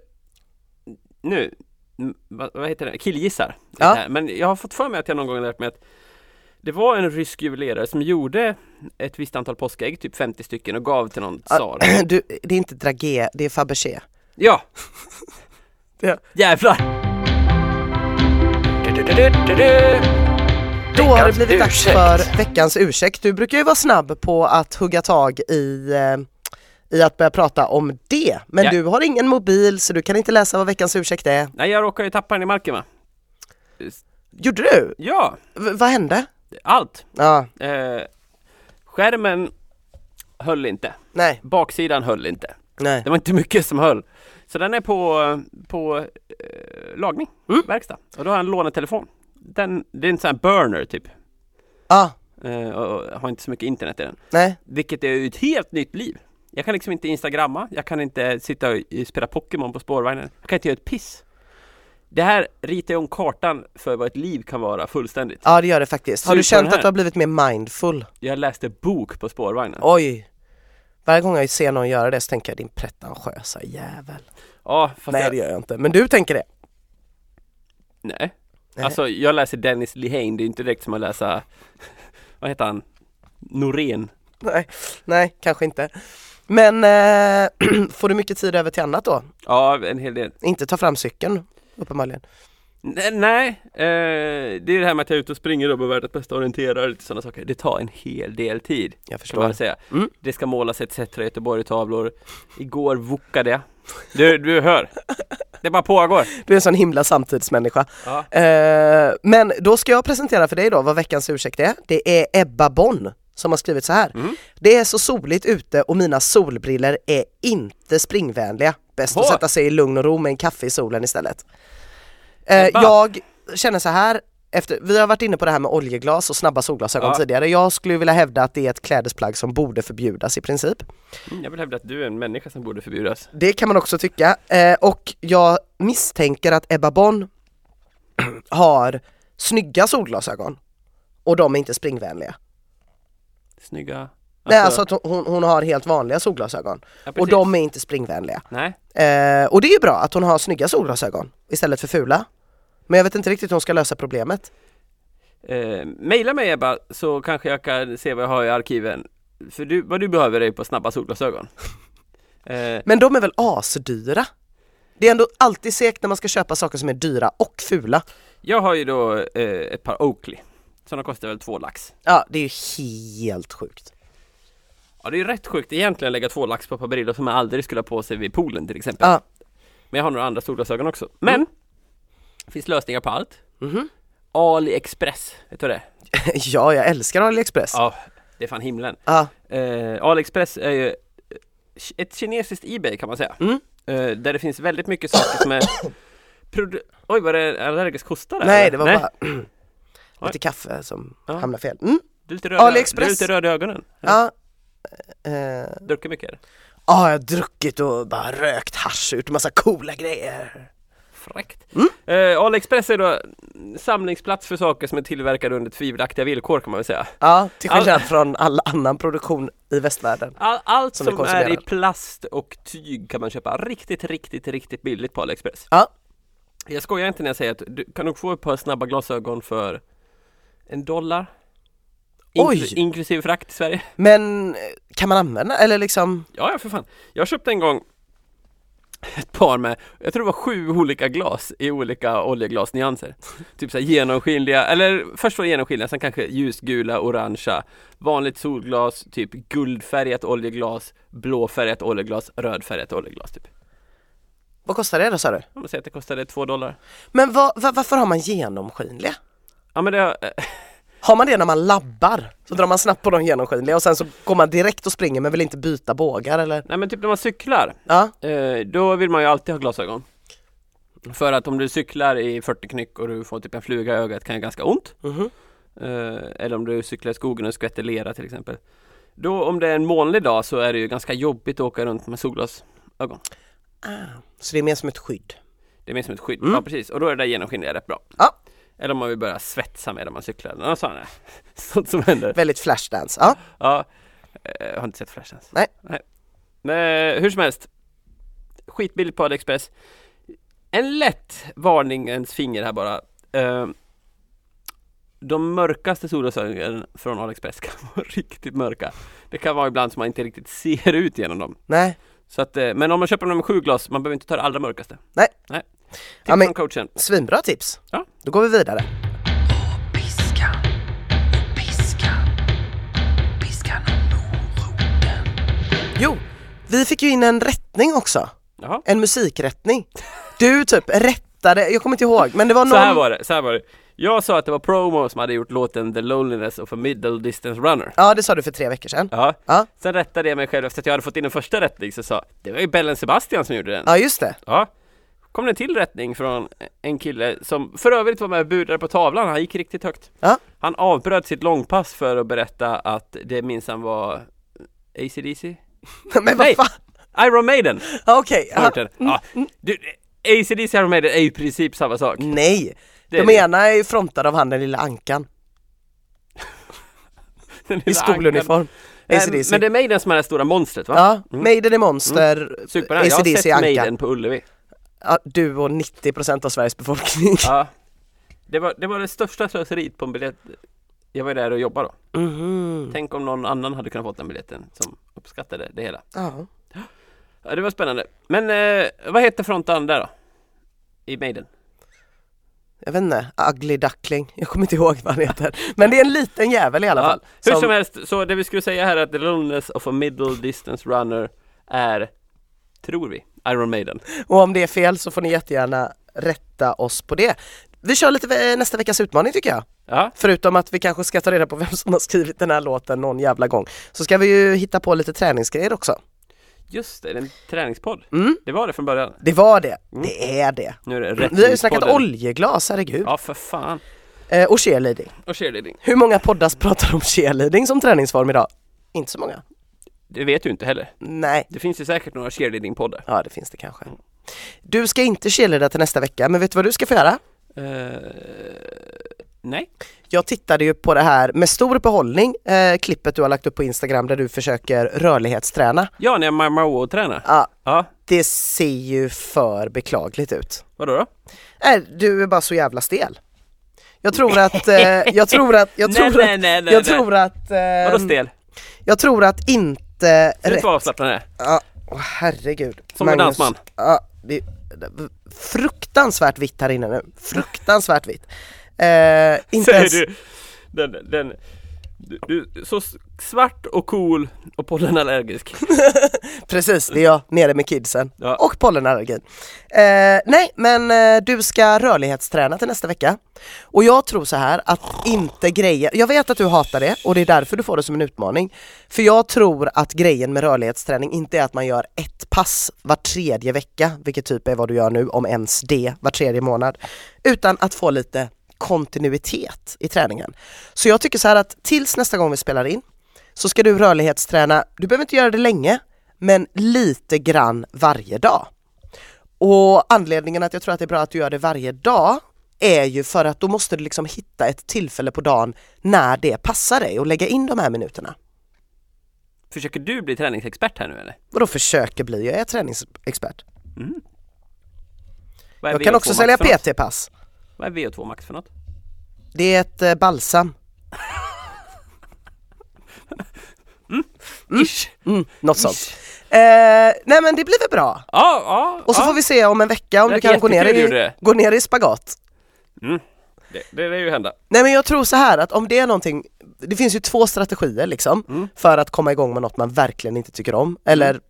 Speaker 2: Nu, mm, vad, vad heter det? Killgissar.
Speaker 1: Ja.
Speaker 2: Nej, Men jag har fått för mig att jag någon gång lärt mig att det var en rysk juvelerare som gjorde ett visst antal påskägg, typ 50 stycken och gav till någon
Speaker 1: Ja.
Speaker 2: tsar.
Speaker 1: Du, det är inte Dragé, det är Fabergé.
Speaker 2: Ja!
Speaker 1: Ja.
Speaker 2: Jävlar!
Speaker 1: Då har det
Speaker 3: Veckans
Speaker 1: blivit dags
Speaker 3: ursäkt.
Speaker 1: för veckans ursäkt. Du brukar ju vara snabb på att hugga tag i, eh, i att börja prata om det. Men
Speaker 2: Ja.
Speaker 1: du har ingen mobil så du kan inte läsa vad veckans ursäkt är.
Speaker 2: Nej jag råkade ju tappa den i marken va?
Speaker 1: Gjorde du?
Speaker 2: Ja,
Speaker 1: V- vad hände?
Speaker 2: allt!
Speaker 1: Ja,
Speaker 2: Eh, skärmen höll inte,
Speaker 1: nej,
Speaker 2: baksidan höll inte.
Speaker 1: nej.
Speaker 2: Det var inte mycket som höll. Så den är på, på eh, lagning, verkstad. Och då har jag en lånetelefon. Den, det är en sån här burner typ.
Speaker 1: Ja,
Speaker 2: Eh, och, och har inte så mycket internet i den.
Speaker 1: nej.
Speaker 2: Vilket är ju ett helt nytt liv. Jag kan liksom inte instagramma, jag kan inte sitta och eh, spela Pokémon på spårvagnen. Jag kan inte göra ett piss. Det här ritar ju om kartan för vad ett liv kan vara fullständigt.
Speaker 1: Ja det gör det faktiskt. Har
Speaker 2: Sug
Speaker 1: du
Speaker 2: på
Speaker 1: känt
Speaker 2: den här.
Speaker 1: att du har blivit mer mindful?
Speaker 2: Jag läste bok på spårvagnen.
Speaker 1: Oj! Varje gång jag ser någon göra det så tänker jag din pretentiösa jävel.
Speaker 2: Ja, fast
Speaker 1: Nej
Speaker 2: jag,
Speaker 1: det gör jag inte, men du tänker det.
Speaker 2: Nej.
Speaker 1: Nej.
Speaker 2: Alltså jag läser Dennis Lehane, det är inte direkt som att läsa Vad heter han? Norén
Speaker 1: Nej, nej kanske inte. Men eh, får du mycket tid över till annat då?
Speaker 2: Ja, en hel del
Speaker 1: Inte ta fram cykeln uppenbarligen.
Speaker 2: Nej, nej. Eh, det är det här med att jag är ute och springer och behöver världens bästa orienterare och lite sådana saker Det tar en hel del tid
Speaker 1: Jag
Speaker 2: kan man
Speaker 1: förstår.
Speaker 2: säga
Speaker 1: Mm.
Speaker 2: Det ska målas etc. i Göteborg-tavlor Igår vokade jag Du, du hör Det bara pågår
Speaker 1: Du är en sån himla samtidsmänniska.
Speaker 2: ja.
Speaker 1: Eh, men då ska jag presentera för dig då vad veckans ursäkt är. Det är Ebba Bonn som har skrivit så här.
Speaker 2: Mm.
Speaker 1: Det är så soligt ute och mina solbriller är inte springvänliga. Bäst att
Speaker 2: Åh.
Speaker 1: sätta sig i lugn och ro med en kaffe i solen istället. Eh,
Speaker 2: Ebba.
Speaker 1: jag känner så här, efter, vi har varit inne på det här med oljeglas och snabba solglasögon
Speaker 2: Ja.
Speaker 1: tidigare. Jag skulle vilja hävda att det är ett klädesplagg som borde förbjudas i princip.
Speaker 2: Mm, Jag vill hävda att du är en människa som borde förbjudas
Speaker 1: Det kan man också tycka. Eh, och jag misstänker att Ebba Bonn har snygga solglasögon och de är inte springvänliga.
Speaker 2: Snygga
Speaker 1: Nej, alltså att hon, hon har helt vanliga solglasögon
Speaker 2: ja,
Speaker 1: och
Speaker 2: precis.
Speaker 1: de är inte springvänliga.
Speaker 2: Nej
Speaker 1: Eh, och det är ju bra att hon har snygga solglasögon istället för fula. Men jag vet inte riktigt hur hon ska lösa problemet.
Speaker 2: Eh, maila mig Ebba så kanske jag kan se vad jag har i arkiven. För du, vad du behöver är på snabba solglasögon. Eh,
Speaker 1: Men de är väl asdyra? Det är ändå alltid segt när man ska köpa saker som är dyra och fula.
Speaker 2: jag har ju då eh, ett par Oakley. Så de kostar väl två lax.
Speaker 1: Ja, det är ju helt sjukt.
Speaker 2: Ja det är ju rätt sjukt egentligen att lägga två lax på ett par brillor som man aldrig skulle ha på sig vid poolen till exempel.
Speaker 1: Ja.
Speaker 2: Men jag har några andra solglasögon också. Men! Det finns lösningar på allt.
Speaker 1: Mhm.
Speaker 2: AliExpress, vet du vad det är?
Speaker 1: ja, jag älskar AliExpress.
Speaker 2: Ja, det är fan himlen.
Speaker 1: Ja.
Speaker 2: Eh, AliExpress är ju ett kinesiskt Ebay kan man säga.
Speaker 1: Mm.
Speaker 2: Eh, där det finns väldigt mycket saker som är produ- Oj, var det allergisk hosta där?
Speaker 1: Nej
Speaker 2: eller?
Speaker 1: det var bara
Speaker 2: Oj.
Speaker 1: lite kaffe som
Speaker 2: Ja.
Speaker 1: hamnade fel. Mm.
Speaker 2: Du är lite röd,
Speaker 1: AliExpress.
Speaker 2: Du är lite röd i ögonen.
Speaker 1: Ja. Eh,
Speaker 2: Druckit mycket? eller?
Speaker 1: ja, jag har druckit och bara rökt hasch ut massa coola grejer. Mm.
Speaker 2: Fräckt. Eh, Mm. AliExpress är då samlingsplats för saker som är tillverkade under tvivelaktiga villkor kan man väl säga.
Speaker 1: Ja, till skillnad från all annan produktion i västvärlden.
Speaker 2: All, allt
Speaker 1: Som
Speaker 2: som,
Speaker 1: vi
Speaker 2: är
Speaker 1: konsumerar.
Speaker 2: i plast och tyg kan man köpa riktigt, riktigt, riktigt billigt på Aliexpress.
Speaker 1: Ja.
Speaker 2: Jag skojar inte när jag säger att du kan nog få ett par snabba glasögon för en dollar. Inkl-
Speaker 1: Oj!
Speaker 2: Inklusive frakt i Sverige.
Speaker 1: Men eh, kan man använda, eller liksom,
Speaker 2: Ja, ja för fan. Jag köpte en gång ett par med, jag tror det var sju olika glas i olika oljeglasnyanser. Typ så här genomskinliga, eller först var det genomskinliga, sen kanske ljusgula, orangea, vanligt solglas, typ guldfärgat oljeglas, blåfärgat oljeglas, rödfärgat oljeglas typ.
Speaker 1: vad kostar det då sa du?
Speaker 2: Om man säger att det kostade två dollar.
Speaker 1: Men vad- va, varför har man genomskinliga?
Speaker 2: Ja men det, har- eh,
Speaker 1: Har man det när man labbar? Så drar man snabbt på de genomskinliga och sen så går man direkt och springer men vill inte byta bågar eller?
Speaker 2: nej men typ när man cyklar,
Speaker 1: Ja,
Speaker 2: eh, då vill man ju alltid ha glasögon. För att om du cyklar i 40 knyck och du får typ en fluga i ögat kan det ganska ont.
Speaker 1: Mhm.
Speaker 2: Eh, eller om du cyklar i skogen och skvätter lera till exempel. Då om det är en molnig dag så är det ju ganska jobbigt att åka runt med solglasögon.
Speaker 1: ah. så det är mer som ett skydd.
Speaker 2: Det är mer som ett skydd.
Speaker 1: Mm.
Speaker 2: Ja precis, och då är det där genomskinliga rätt bra.
Speaker 1: Ja.
Speaker 2: Eller om man vill börja svetsa med när man cyklar eller något sånt. där. Sånt som händer.
Speaker 1: Väldigt flashdance, ja.
Speaker 2: Ja. Eh, Jag har inte sett Flashdance.
Speaker 1: Nej.
Speaker 2: Nej. Men Eh, hur som helst. Skitbilligt på Aliexpress. En lätt varningens finger här bara. Eh, De mörkaste solglasögonen från Aliexpress kan vara riktigt mörka. Det kan vara ibland som man inte riktigt ser ut genom dem.
Speaker 1: Nej,
Speaker 2: Så att, eh, men om man köper dem med sju glas, man behöver inte ta det allra mörkaste.
Speaker 1: Nej.
Speaker 2: Nej. Tips
Speaker 1: Ja, men-
Speaker 2: från coachen.
Speaker 1: svinbra tips.
Speaker 2: Ja.
Speaker 1: Då går vi vidare.
Speaker 3: Och piska, och piska, piska nån moroten.
Speaker 1: Jo, vi fick ju in en rättning också.
Speaker 2: Jaha.
Speaker 1: En musikrättning. Du typ rättade, jag kommer inte ihåg, men det var någon...
Speaker 2: Så här var det, så här var det. Jag sa att det var Promo som hade gjort låten The Loneliness of a Middle Distance Runner.
Speaker 1: Ja, det sa du för tre veckor sedan.
Speaker 2: Ja.
Speaker 1: Ja,
Speaker 2: Sen rättade jag mig själv efter att jag hade fått in den första rättning så sa Det var ju Bellen Sebastian som gjorde den
Speaker 1: ja just det.
Speaker 2: Ja Kom det en till rättning från en kille som för övrigt var med och budade på tavlan, han gick riktigt högt
Speaker 1: Ja.
Speaker 2: Han avbröt sitt långpass för att berätta att det minsann var ACDC?
Speaker 1: Men vad
Speaker 2: Nej.
Speaker 1: fan,
Speaker 2: Iron Maiden!
Speaker 1: Ja, okej.
Speaker 2: Har
Speaker 1: Ja. Mm.
Speaker 2: du hört den? Ja. Du, ACDC och Iron Maiden är ju i princip samma sak
Speaker 1: Nej,
Speaker 2: Det
Speaker 1: Mm. de
Speaker 2: är det.
Speaker 1: ena är ju frontade av han den lilla ankan
Speaker 2: Den
Speaker 1: i
Speaker 2: lilla
Speaker 1: skoluniform.
Speaker 2: ankan. Nej,
Speaker 1: AC/DC.
Speaker 2: Men det är Maiden som är det stora monstret va?
Speaker 1: Ja, Maiden är monster,
Speaker 2: Superna, jag har
Speaker 1: ACDC är
Speaker 2: sett
Speaker 1: ankan.
Speaker 2: Maiden på Ullevi
Speaker 1: Ja, du och 90% av Sveriges befolkning.
Speaker 2: Ja det var, det var det största slöseriet på en biljett Jag var där och jobbade då
Speaker 1: Mhm.
Speaker 2: Tänk om någon annan hade kunnat fått den biljetten som uppskattade det hela
Speaker 1: Ja.
Speaker 2: Ja det var spännande Men eh, vad heter frontan där då? I Maiden?
Speaker 1: Jag vet inte, Ugly Duckling, jag kommer inte ihåg vad han heter. Men det är en liten jävel i alla fall.
Speaker 2: Hur som
Speaker 1: som-
Speaker 2: helst, så det vi skulle säga här är att The Loneliness of a Middle Distance Runner är Tror vi, Iron Maiden
Speaker 1: Och om det är fel så får ni jättegärna rätta oss på det. Vi kör lite eh, nästa veckas utmaning tycker jag.
Speaker 2: Ja,
Speaker 1: Förutom att vi kanske ska ta reda på vem som har skrivit den här låten någon jävla gång. Så ska vi ju hitta på lite träningsgrejer också.
Speaker 2: just det, det är en träningspodd
Speaker 1: Mm.
Speaker 2: Det var det från början
Speaker 1: Det var det, det är det.
Speaker 2: Nu är det
Speaker 1: Vi har ju snackat
Speaker 2: rättningspodden.
Speaker 1: oljeglas, herregud.
Speaker 2: Ja för fan
Speaker 1: Eh, och cheerleading.
Speaker 2: Och cheerleading
Speaker 1: Hur många poddar pratar om cheerleading som träningsform idag? Inte så många.
Speaker 2: Det vet du inte heller
Speaker 1: Nej,
Speaker 2: Det finns ju säkert några cheerleading-poddar
Speaker 1: ja det finns det kanske. Du ska inte cheerleada till nästa vecka, men vet du vad du ska få göra?
Speaker 2: Eh, Nej
Speaker 1: Jag tittade ju på det här med stor behållning, eh, klippet du har lagt upp på Instagram där du försöker rörlighetsträna.
Speaker 2: Ja, när jag Marmaro tränar
Speaker 1: Ja,
Speaker 2: Ja,
Speaker 1: det ser ju för beklagligt ut.
Speaker 2: vadå då?
Speaker 1: Nej, du är bara så jävla stel. Jag tror att, eh, jag tror att, jag tror
Speaker 2: nej,
Speaker 1: att,
Speaker 2: nej, nej, nej,
Speaker 1: jag
Speaker 2: nej.
Speaker 1: tror att, eh,
Speaker 2: Vadå stel?
Speaker 1: jag tror att inte
Speaker 2: Rätt
Speaker 1: rätt.
Speaker 2: vad avslappnad det är.
Speaker 1: Ja, åh, herregud.
Speaker 2: Som en
Speaker 1: Magnus,
Speaker 2: dansman.
Speaker 1: Ja, det, fruktansvärt vitt här inne nu, fruktansvärt vitt. Eh, inte
Speaker 2: Säger
Speaker 1: ens,
Speaker 2: du, den, den, du, du, så s- svart och cool och pollenallergisk.
Speaker 1: precis det är jag nere med kidsen
Speaker 2: Ja.
Speaker 1: och pollenallergin. Eh, nej men eh, du ska rörlighetsträna till nästa vecka och jag tror så här att inte grejer, jag vet att du hatar det och det är därför du får det som en utmaning. För jag tror att grejen med rörlighetsträning inte är att man gör ett pass var tredje vecka, vilket typ är vad du gör nu om ens det, var tredje månad, utan att få lite kontinuitet i träningen. Så jag tycker så här att tills nästa gång vi spelar in så ska du rörlighetsträna, du behöver inte göra det länge, men lite grann varje dag. Och anledningen att jag tror att det är bra att du gör det varje dag är ju för att då måste du liksom hitta ett tillfälle på dagen när det passar dig och lägga in de här minuterna.
Speaker 2: Försöker du bli träningsexpert här nu eller?
Speaker 1: Vadå försöker bli? Jag är träningsexpert.
Speaker 2: Vad är
Speaker 1: Jag kan
Speaker 2: VO2
Speaker 1: också
Speaker 2: max
Speaker 1: sälja
Speaker 2: för något?
Speaker 1: PT-pass.
Speaker 2: Vad är VO2 max för något?
Speaker 1: Det är ett eh, balsam.
Speaker 2: Ish.
Speaker 1: Mm, något sånt.
Speaker 2: Ish.
Speaker 1: Eh, nej men det blir väl bra.
Speaker 2: Ja, ja,
Speaker 1: Och så
Speaker 2: ja.
Speaker 1: får vi se om en vecka om
Speaker 2: Det
Speaker 1: du kan gå ner,
Speaker 2: jättekul du
Speaker 1: i,
Speaker 2: gjorde.
Speaker 1: gå ner i spagat.
Speaker 2: Det, det lär ju hända.
Speaker 1: Nej men jag tror så här att om det är någonting, det finns ju två strategier liksom
Speaker 2: Mm.
Speaker 1: för att komma igång med något man verkligen inte tycker om eller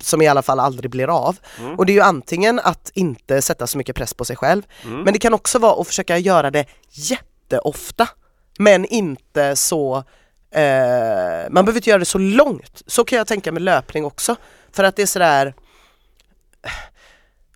Speaker 1: som i alla fall aldrig blir av.
Speaker 2: Mm.
Speaker 1: Och det är ju antingen att inte sätta så mycket press på sig själv
Speaker 2: Mm.
Speaker 1: men det kan också vara att försöka göra det jätteofta men inte så eh, man behöver inte göra det så långt. Så kan jag tänka med löpning också. För att det är sådär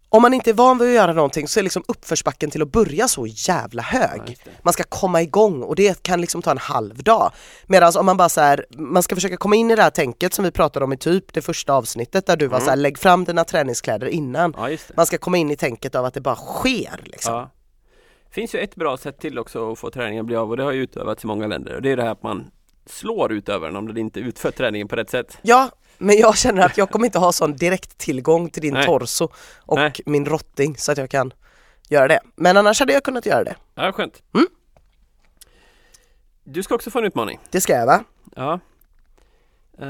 Speaker 1: om man inte är van vid att göra någonting så är liksom uppförsbacken till att börja så jävla hög. man ska komma igång och det kan liksom ta en halv dag. Medan om man bara så här, man ska försöka komma in i det här tänket som vi pratade om i typ det första avsnittet där du var så här, lägg fram dina träningskläder innan.
Speaker 2: Mm. Ja, just det.
Speaker 1: Man ska komma in i tänket av att det bara sker liksom.
Speaker 2: Ja. finns ju ett bra sätt till också att få träningen att bli av och det har ju utövats i många länder och det är det här att man slår utövaren om den inte utför träningen på rätt sätt.
Speaker 1: Ja, men jag känner att jag kommer inte ha sån direkt tillgång till din
Speaker 2: Nej.
Speaker 1: torso och
Speaker 2: Nej.
Speaker 1: min rotting så att jag kan göra det. Men annars hade jag kunnat göra det.
Speaker 2: Ja, skönt.
Speaker 1: Mm.
Speaker 2: Du ska också få en utmaning.
Speaker 1: Det ska jag va?
Speaker 2: Ja. Eh,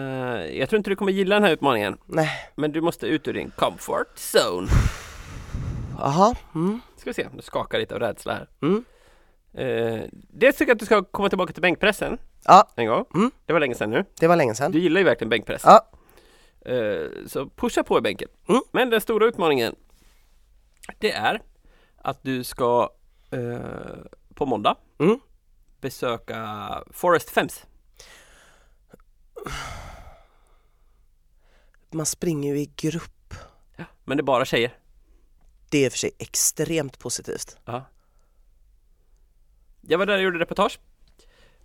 Speaker 2: jag tror inte du kommer gilla den här utmaningen,
Speaker 1: Nej,
Speaker 2: men du måste ut ur din comfort zone.
Speaker 1: jaha. Mm.
Speaker 2: Ska vi se, nu skakar jag lite av rädsla här.
Speaker 1: Mm.
Speaker 2: Eh, dels tycker jag att du ska komma tillbaka till bänkpressen
Speaker 1: Ja,
Speaker 2: en gång.
Speaker 1: Mm.
Speaker 2: Det var länge sedan nu.
Speaker 1: det var länge sedan.
Speaker 2: Du gillar ju verkligen bänkpress.
Speaker 1: Ja.
Speaker 2: Eh, så pusha på i bänken.
Speaker 1: Mm.
Speaker 2: Men den stora utmaningen Det är att du ska eh, på måndag
Speaker 1: Mm.
Speaker 2: besöka Forest Fems.
Speaker 1: Man springer ju i grupp.
Speaker 2: Men det är bara tjejer.
Speaker 1: Det är i och för sig extremt positivt.
Speaker 2: Jag var där och gjorde reportage.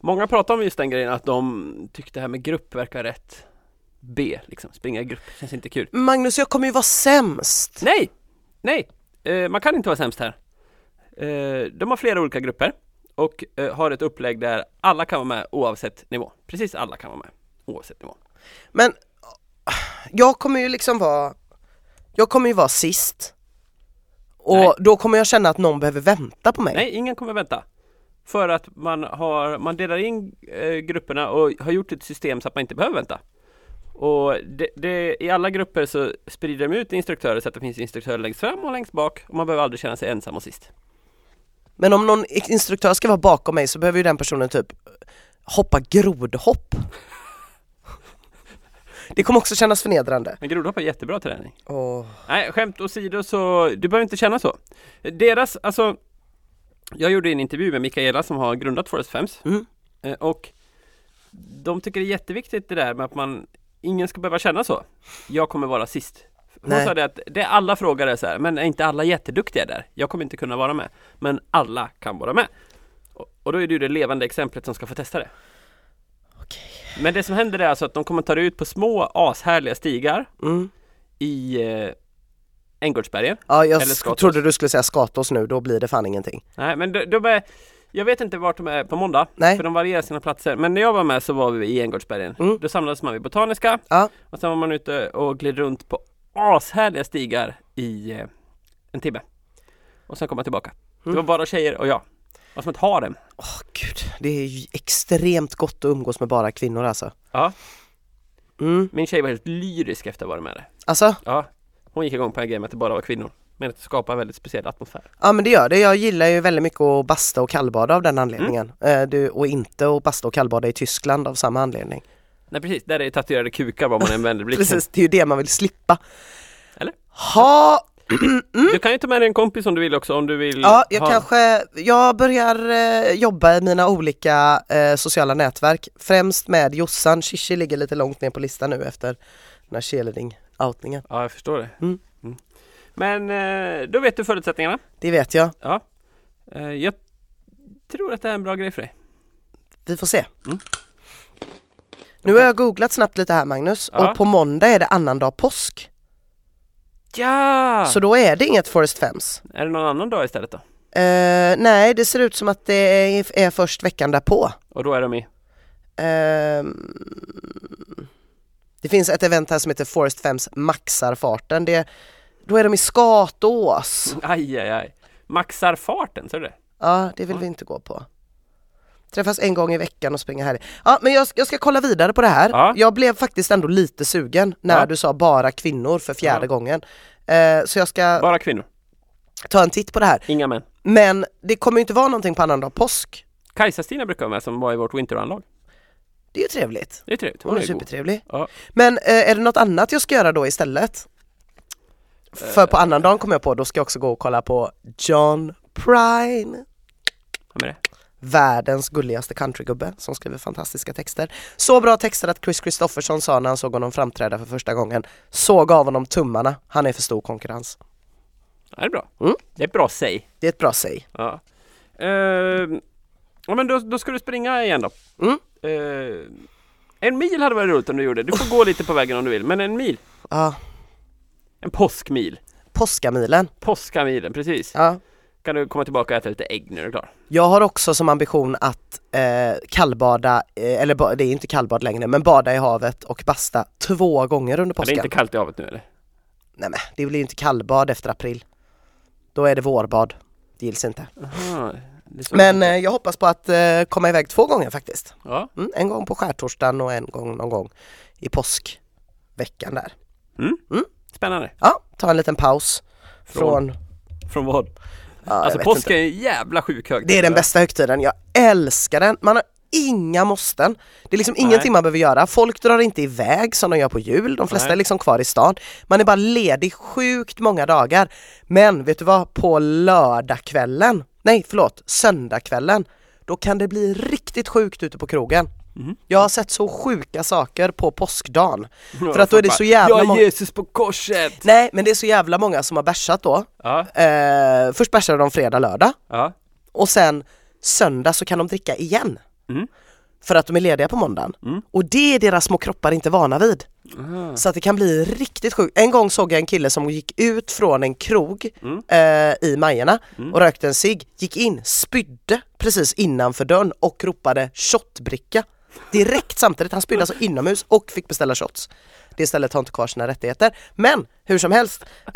Speaker 2: Många pratade om just den grejen att de tyckte det här med grupp verkar rätt B liksom. Springa i grupp känns inte kul.
Speaker 1: Magnus, jag kommer ju vara sämst.
Speaker 2: Nej! Nej! Eh, man kan inte vara sämst här. Eh, de har flera olika grupper och eh, har ett upplägg där alla kan vara med oavsett nivå. Precis alla kan vara med oavsett nivå.
Speaker 1: Men ah, jag kommer ju liksom vara, jag kommer ju vara sist. Och
Speaker 2: Nej.
Speaker 1: då kommer jag känna att någon behöver vänta på mig.
Speaker 2: Nej, ingen kommer vänta. För att man, har, man delar in eh, grupperna och har gjort ett system så att man inte behöver vänta. Och det, det, i alla grupper så sprider de ut instruktörer så att det finns instruktörer längst fram och längst bak och man behöver aldrig känna sig ensam och sist.
Speaker 1: Men om någon instruktör ska vara bakom mig så behöver ju den personen typ hoppa grodhopp. Det kommer också kännas förnedrande.
Speaker 2: Men grodhopp är jättebra träning.
Speaker 1: Åh.
Speaker 2: Nej, skämt åsido så du behöver inte känna så. Deras, alltså Jag gjorde en intervju med Mikaela som har grundat Forest Fems
Speaker 1: Mm.
Speaker 2: Eh, och de tycker det är jätteviktigt det där med att man Ingen ska behöva känna så. Jag kommer vara sist. Hon
Speaker 1: Nej.
Speaker 2: sa det att det alla frågar är så här, men är inte alla jätteduktiga där? Jag kommer inte kunna vara med. Men alla kan vara med. Och, och då är du det levande exemplet som ska få testa det. Men det som händer är alltså att de kommer ta dig ut på små ashärliga stigar
Speaker 1: Mm.
Speaker 2: i eh, Änggårdsbergen.
Speaker 1: Ja, jag
Speaker 2: Eller
Speaker 1: sk-
Speaker 2: Skatos.
Speaker 1: trodde du skulle säga skatos nu, då blir det fan ingenting.
Speaker 2: Nej men de, de är Jag vet inte vart de är på måndag
Speaker 1: Nej.
Speaker 2: För de varierar sina platser Men när jag var med så var vi i Änggårdsbergen
Speaker 1: Mm.
Speaker 2: Då samlades man vid Botaniska
Speaker 1: Ja.
Speaker 2: Och sen var man ute och gled runt på ashärliga stigar i eh, en timme Och sen kom man tillbaka Det
Speaker 1: Mm.
Speaker 2: var bara tjejer och jag Det var som ett harem
Speaker 1: Åh gud, det är ju extremt gott att umgås med bara kvinnor alltså.
Speaker 2: Ja
Speaker 1: Mm.
Speaker 2: Min tjej var helt lyrisk efter att ha varit med där
Speaker 1: Alltså,
Speaker 2: Ja Hon gick igång på en grej med att det bara var kvinnor Men att det skapar en väldigt speciell atmosfär
Speaker 1: ja men det gör det. Jag gillar ju väldigt mycket att basta och kallbada av den anledningen. Eh, du, och inte att basta och kallbada i Tyskland av samma anledning.
Speaker 2: Nej precis, där är tatuerade kukar var man än vänder blicken
Speaker 1: Precis, det är ju det man vill slippa.
Speaker 2: Eller?
Speaker 1: Ha,
Speaker 2: Du kan ju ta med dig en kompis om du vill också om du vill
Speaker 1: Mm. ja jag
Speaker 2: ha-
Speaker 1: kanske, jag börjar eh, jobba i mina olika eh, sociala nätverk. Främst med Jossan, Shishi ligger lite långt ner på listan nu efter den här cheerleading-outningen.
Speaker 2: Ja, jag förstår det.
Speaker 1: Mm.
Speaker 2: Mm. Men eh, då vet du förutsättningarna.
Speaker 1: Det vet jag,
Speaker 2: Ja. Eh, Jag tror att det här är en bra grej för dig.
Speaker 1: vi får se.
Speaker 2: Mm.
Speaker 1: Nu har jag googlat snabbt lite här Magnus
Speaker 2: Ja.
Speaker 1: och på måndag är det annandag påsk.
Speaker 2: Ja!
Speaker 1: Så då är det inget Forest Fems.
Speaker 2: Är det någon annan dag istället då?
Speaker 1: Eh, nej, det ser ut som att det är, är först veckan därpå.
Speaker 2: Och då är de i?
Speaker 1: Ehm, det finns ett event här som heter Forest Fems maxar farten. Det, då är de i Skatås.
Speaker 2: Aj, aj, aj. Maxar farten, ser du det?
Speaker 1: Ja, det vill vi inte gå på. Träffas en gång i veckan och springa här. Ja, men jag, jag ska kolla vidare på det här.
Speaker 2: Ja.
Speaker 1: Jag blev faktiskt ändå lite sugen när
Speaker 2: Ja.
Speaker 1: du sa bara kvinnor för fjärde
Speaker 2: Ja.
Speaker 1: gången. Eh, så jag ska
Speaker 2: Bara kvinnor,
Speaker 1: ta en titt på det här.
Speaker 2: inga män.
Speaker 1: Men det kommer ju inte vara någonting på annandag påsk.
Speaker 2: Kajsa-Stina brukar vara med som var i vårt Winterrun-lag.
Speaker 1: Det är ju trevligt.
Speaker 2: Det är trevligt, hon
Speaker 1: Hon är
Speaker 2: är god.
Speaker 1: supertrevlig.
Speaker 2: Ja.
Speaker 1: Men eh, är det något annat jag ska göra då istället? För
Speaker 2: Eh.
Speaker 1: på annandagen kom jag på, då ska jag också gå och kolla på John Prine.
Speaker 2: Vem är det?
Speaker 1: Världens gulligaste countrygubbe som skriver fantastiska texter. Så bra texter att Chris Kristofferson sa när han såg honom framträda för första gången. Såg av honom tummarna, han är för stor konkurrens.
Speaker 2: Ja, det är bra.
Speaker 1: Mm.
Speaker 2: Det är ett bra säg.
Speaker 1: Det är ett bra säg.
Speaker 2: Ja. Ehm, ja men då, då ska du springa igen då.
Speaker 1: Mm.
Speaker 2: Ehm, en mil hade varit roligt om du gjorde. Du får gå lite på vägen om du vill, men en mil.
Speaker 1: Ja,
Speaker 2: En påskmil.
Speaker 1: påskamilen.
Speaker 2: Påskamilen, precis.
Speaker 1: Ja.
Speaker 2: Kan du komma tillbaka och äta lite ägg när du är klar.
Speaker 1: Jag har också som ambition att eh, kallbada, eh, eller ba, det är inte kallbad längre, men bada i havet och basta två gånger under
Speaker 2: Ja, det är
Speaker 1: påsken.
Speaker 2: inte kallt i havet nu eller?
Speaker 1: Nej men det blir ju inte kallbad efter april. Då är det vårbad. Det gills inte.
Speaker 2: Mm. Aha, det är så.
Speaker 1: Men eh, jag hoppas på att eh, komma iväg två gånger faktiskt.
Speaker 2: Ja.
Speaker 1: Mm, en gång på skärtorsdagen och en gång någon gång i påskveckan där.
Speaker 2: Mm.
Speaker 1: Mm.
Speaker 2: Spännande.
Speaker 1: Ja, ta en liten paus
Speaker 2: Från?
Speaker 1: från...
Speaker 2: Från vad?
Speaker 1: Ja, jag
Speaker 2: alltså
Speaker 1: vet
Speaker 2: påsk
Speaker 1: inte.
Speaker 2: är ju en jävla sjuk högtid.
Speaker 1: Det är den
Speaker 2: va?
Speaker 1: bästa högtiden, jag älskar den. Man har inga måsten. Det är liksom
Speaker 2: Nej.
Speaker 1: ingenting man behöver göra. Folk drar inte iväg som de gör på jul, de flesta
Speaker 2: Nej.
Speaker 1: är liksom kvar i stan. Man är bara ledig sjukt många dagar. Men vet du vad? På lördagskvällen, nej förlåt, söndagskvällen, då kan det bli riktigt sjukt ute på krogen.
Speaker 2: Mm.
Speaker 1: Jag har sett så sjuka saker på påskdagen. För att då är det så jävla
Speaker 2: Jag är
Speaker 1: många...
Speaker 2: Jesus på korset!
Speaker 1: Nej, men det är så jävla många som har bärsat då.
Speaker 2: Ja,
Speaker 1: Eh, först bärsade de fredag, lördag
Speaker 2: ja.
Speaker 1: och sen söndag så kan de dricka igen.
Speaker 2: Mm.
Speaker 1: För att de är lediga på måndagen. Och det är deras små kroppar inte vana vid. Så att det kan bli riktigt sjukt. En gång såg jag en kille som gick ut från en krog eh, i Majerna och rökte en cigg, gick in, spydde precis innanför dörren och ropade shotbricka. Direkt samtidigt, han spydde alltså inomhus och fick beställa shots. Det stället har inte kvar sina rättigheter. Men hur som helst, eh,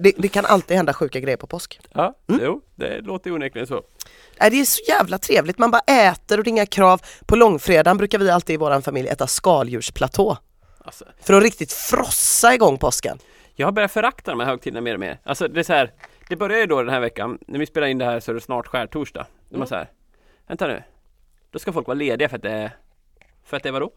Speaker 1: det, det kan alltid hända sjuka grejer på påsk.
Speaker 2: ja.
Speaker 1: Mm.
Speaker 2: Jo, det låter ju onekligen så.
Speaker 1: Nej, Äh, det är så jävla trevligt, man bara äter och det är inga krav. På långfredagen brukar vi alltid i vår familj äta skaldjursplatå
Speaker 2: Alltså,
Speaker 1: för att riktigt frossa igång påsken.
Speaker 2: Jag har börjat förakta de här högtiderna mer och mer. Alltså det är så här, det börjar ju då den här veckan, när vi spelar in det här så är det snart skärtorsdag. De var så här, vänta nu, då ska folk vara lediga för att det är, för att det är vadå?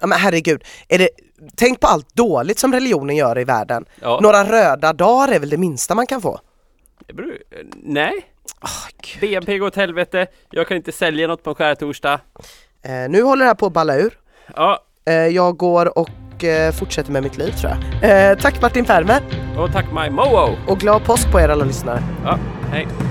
Speaker 1: Ja, men herregud, är det, tänk på allt dåligt som religionen gör i världen.
Speaker 2: Ja.
Speaker 1: Några röda dagar är väl det minsta man kan få?
Speaker 2: Det beror, eh, nej,
Speaker 1: Ah, gud.
Speaker 2: BNP går åt helvete, jag kan inte sälja något på en skärtorsdag.
Speaker 1: eh, nu håller det här på att balla ur.
Speaker 2: Ja,
Speaker 1: Eh, jag går och eh, fortsätter med mitt liv tror jag. Eh, tack Martin Fermer
Speaker 2: och tack my mowo!
Speaker 1: och glad påsk på er alla lyssnare.
Speaker 2: Ja, hej.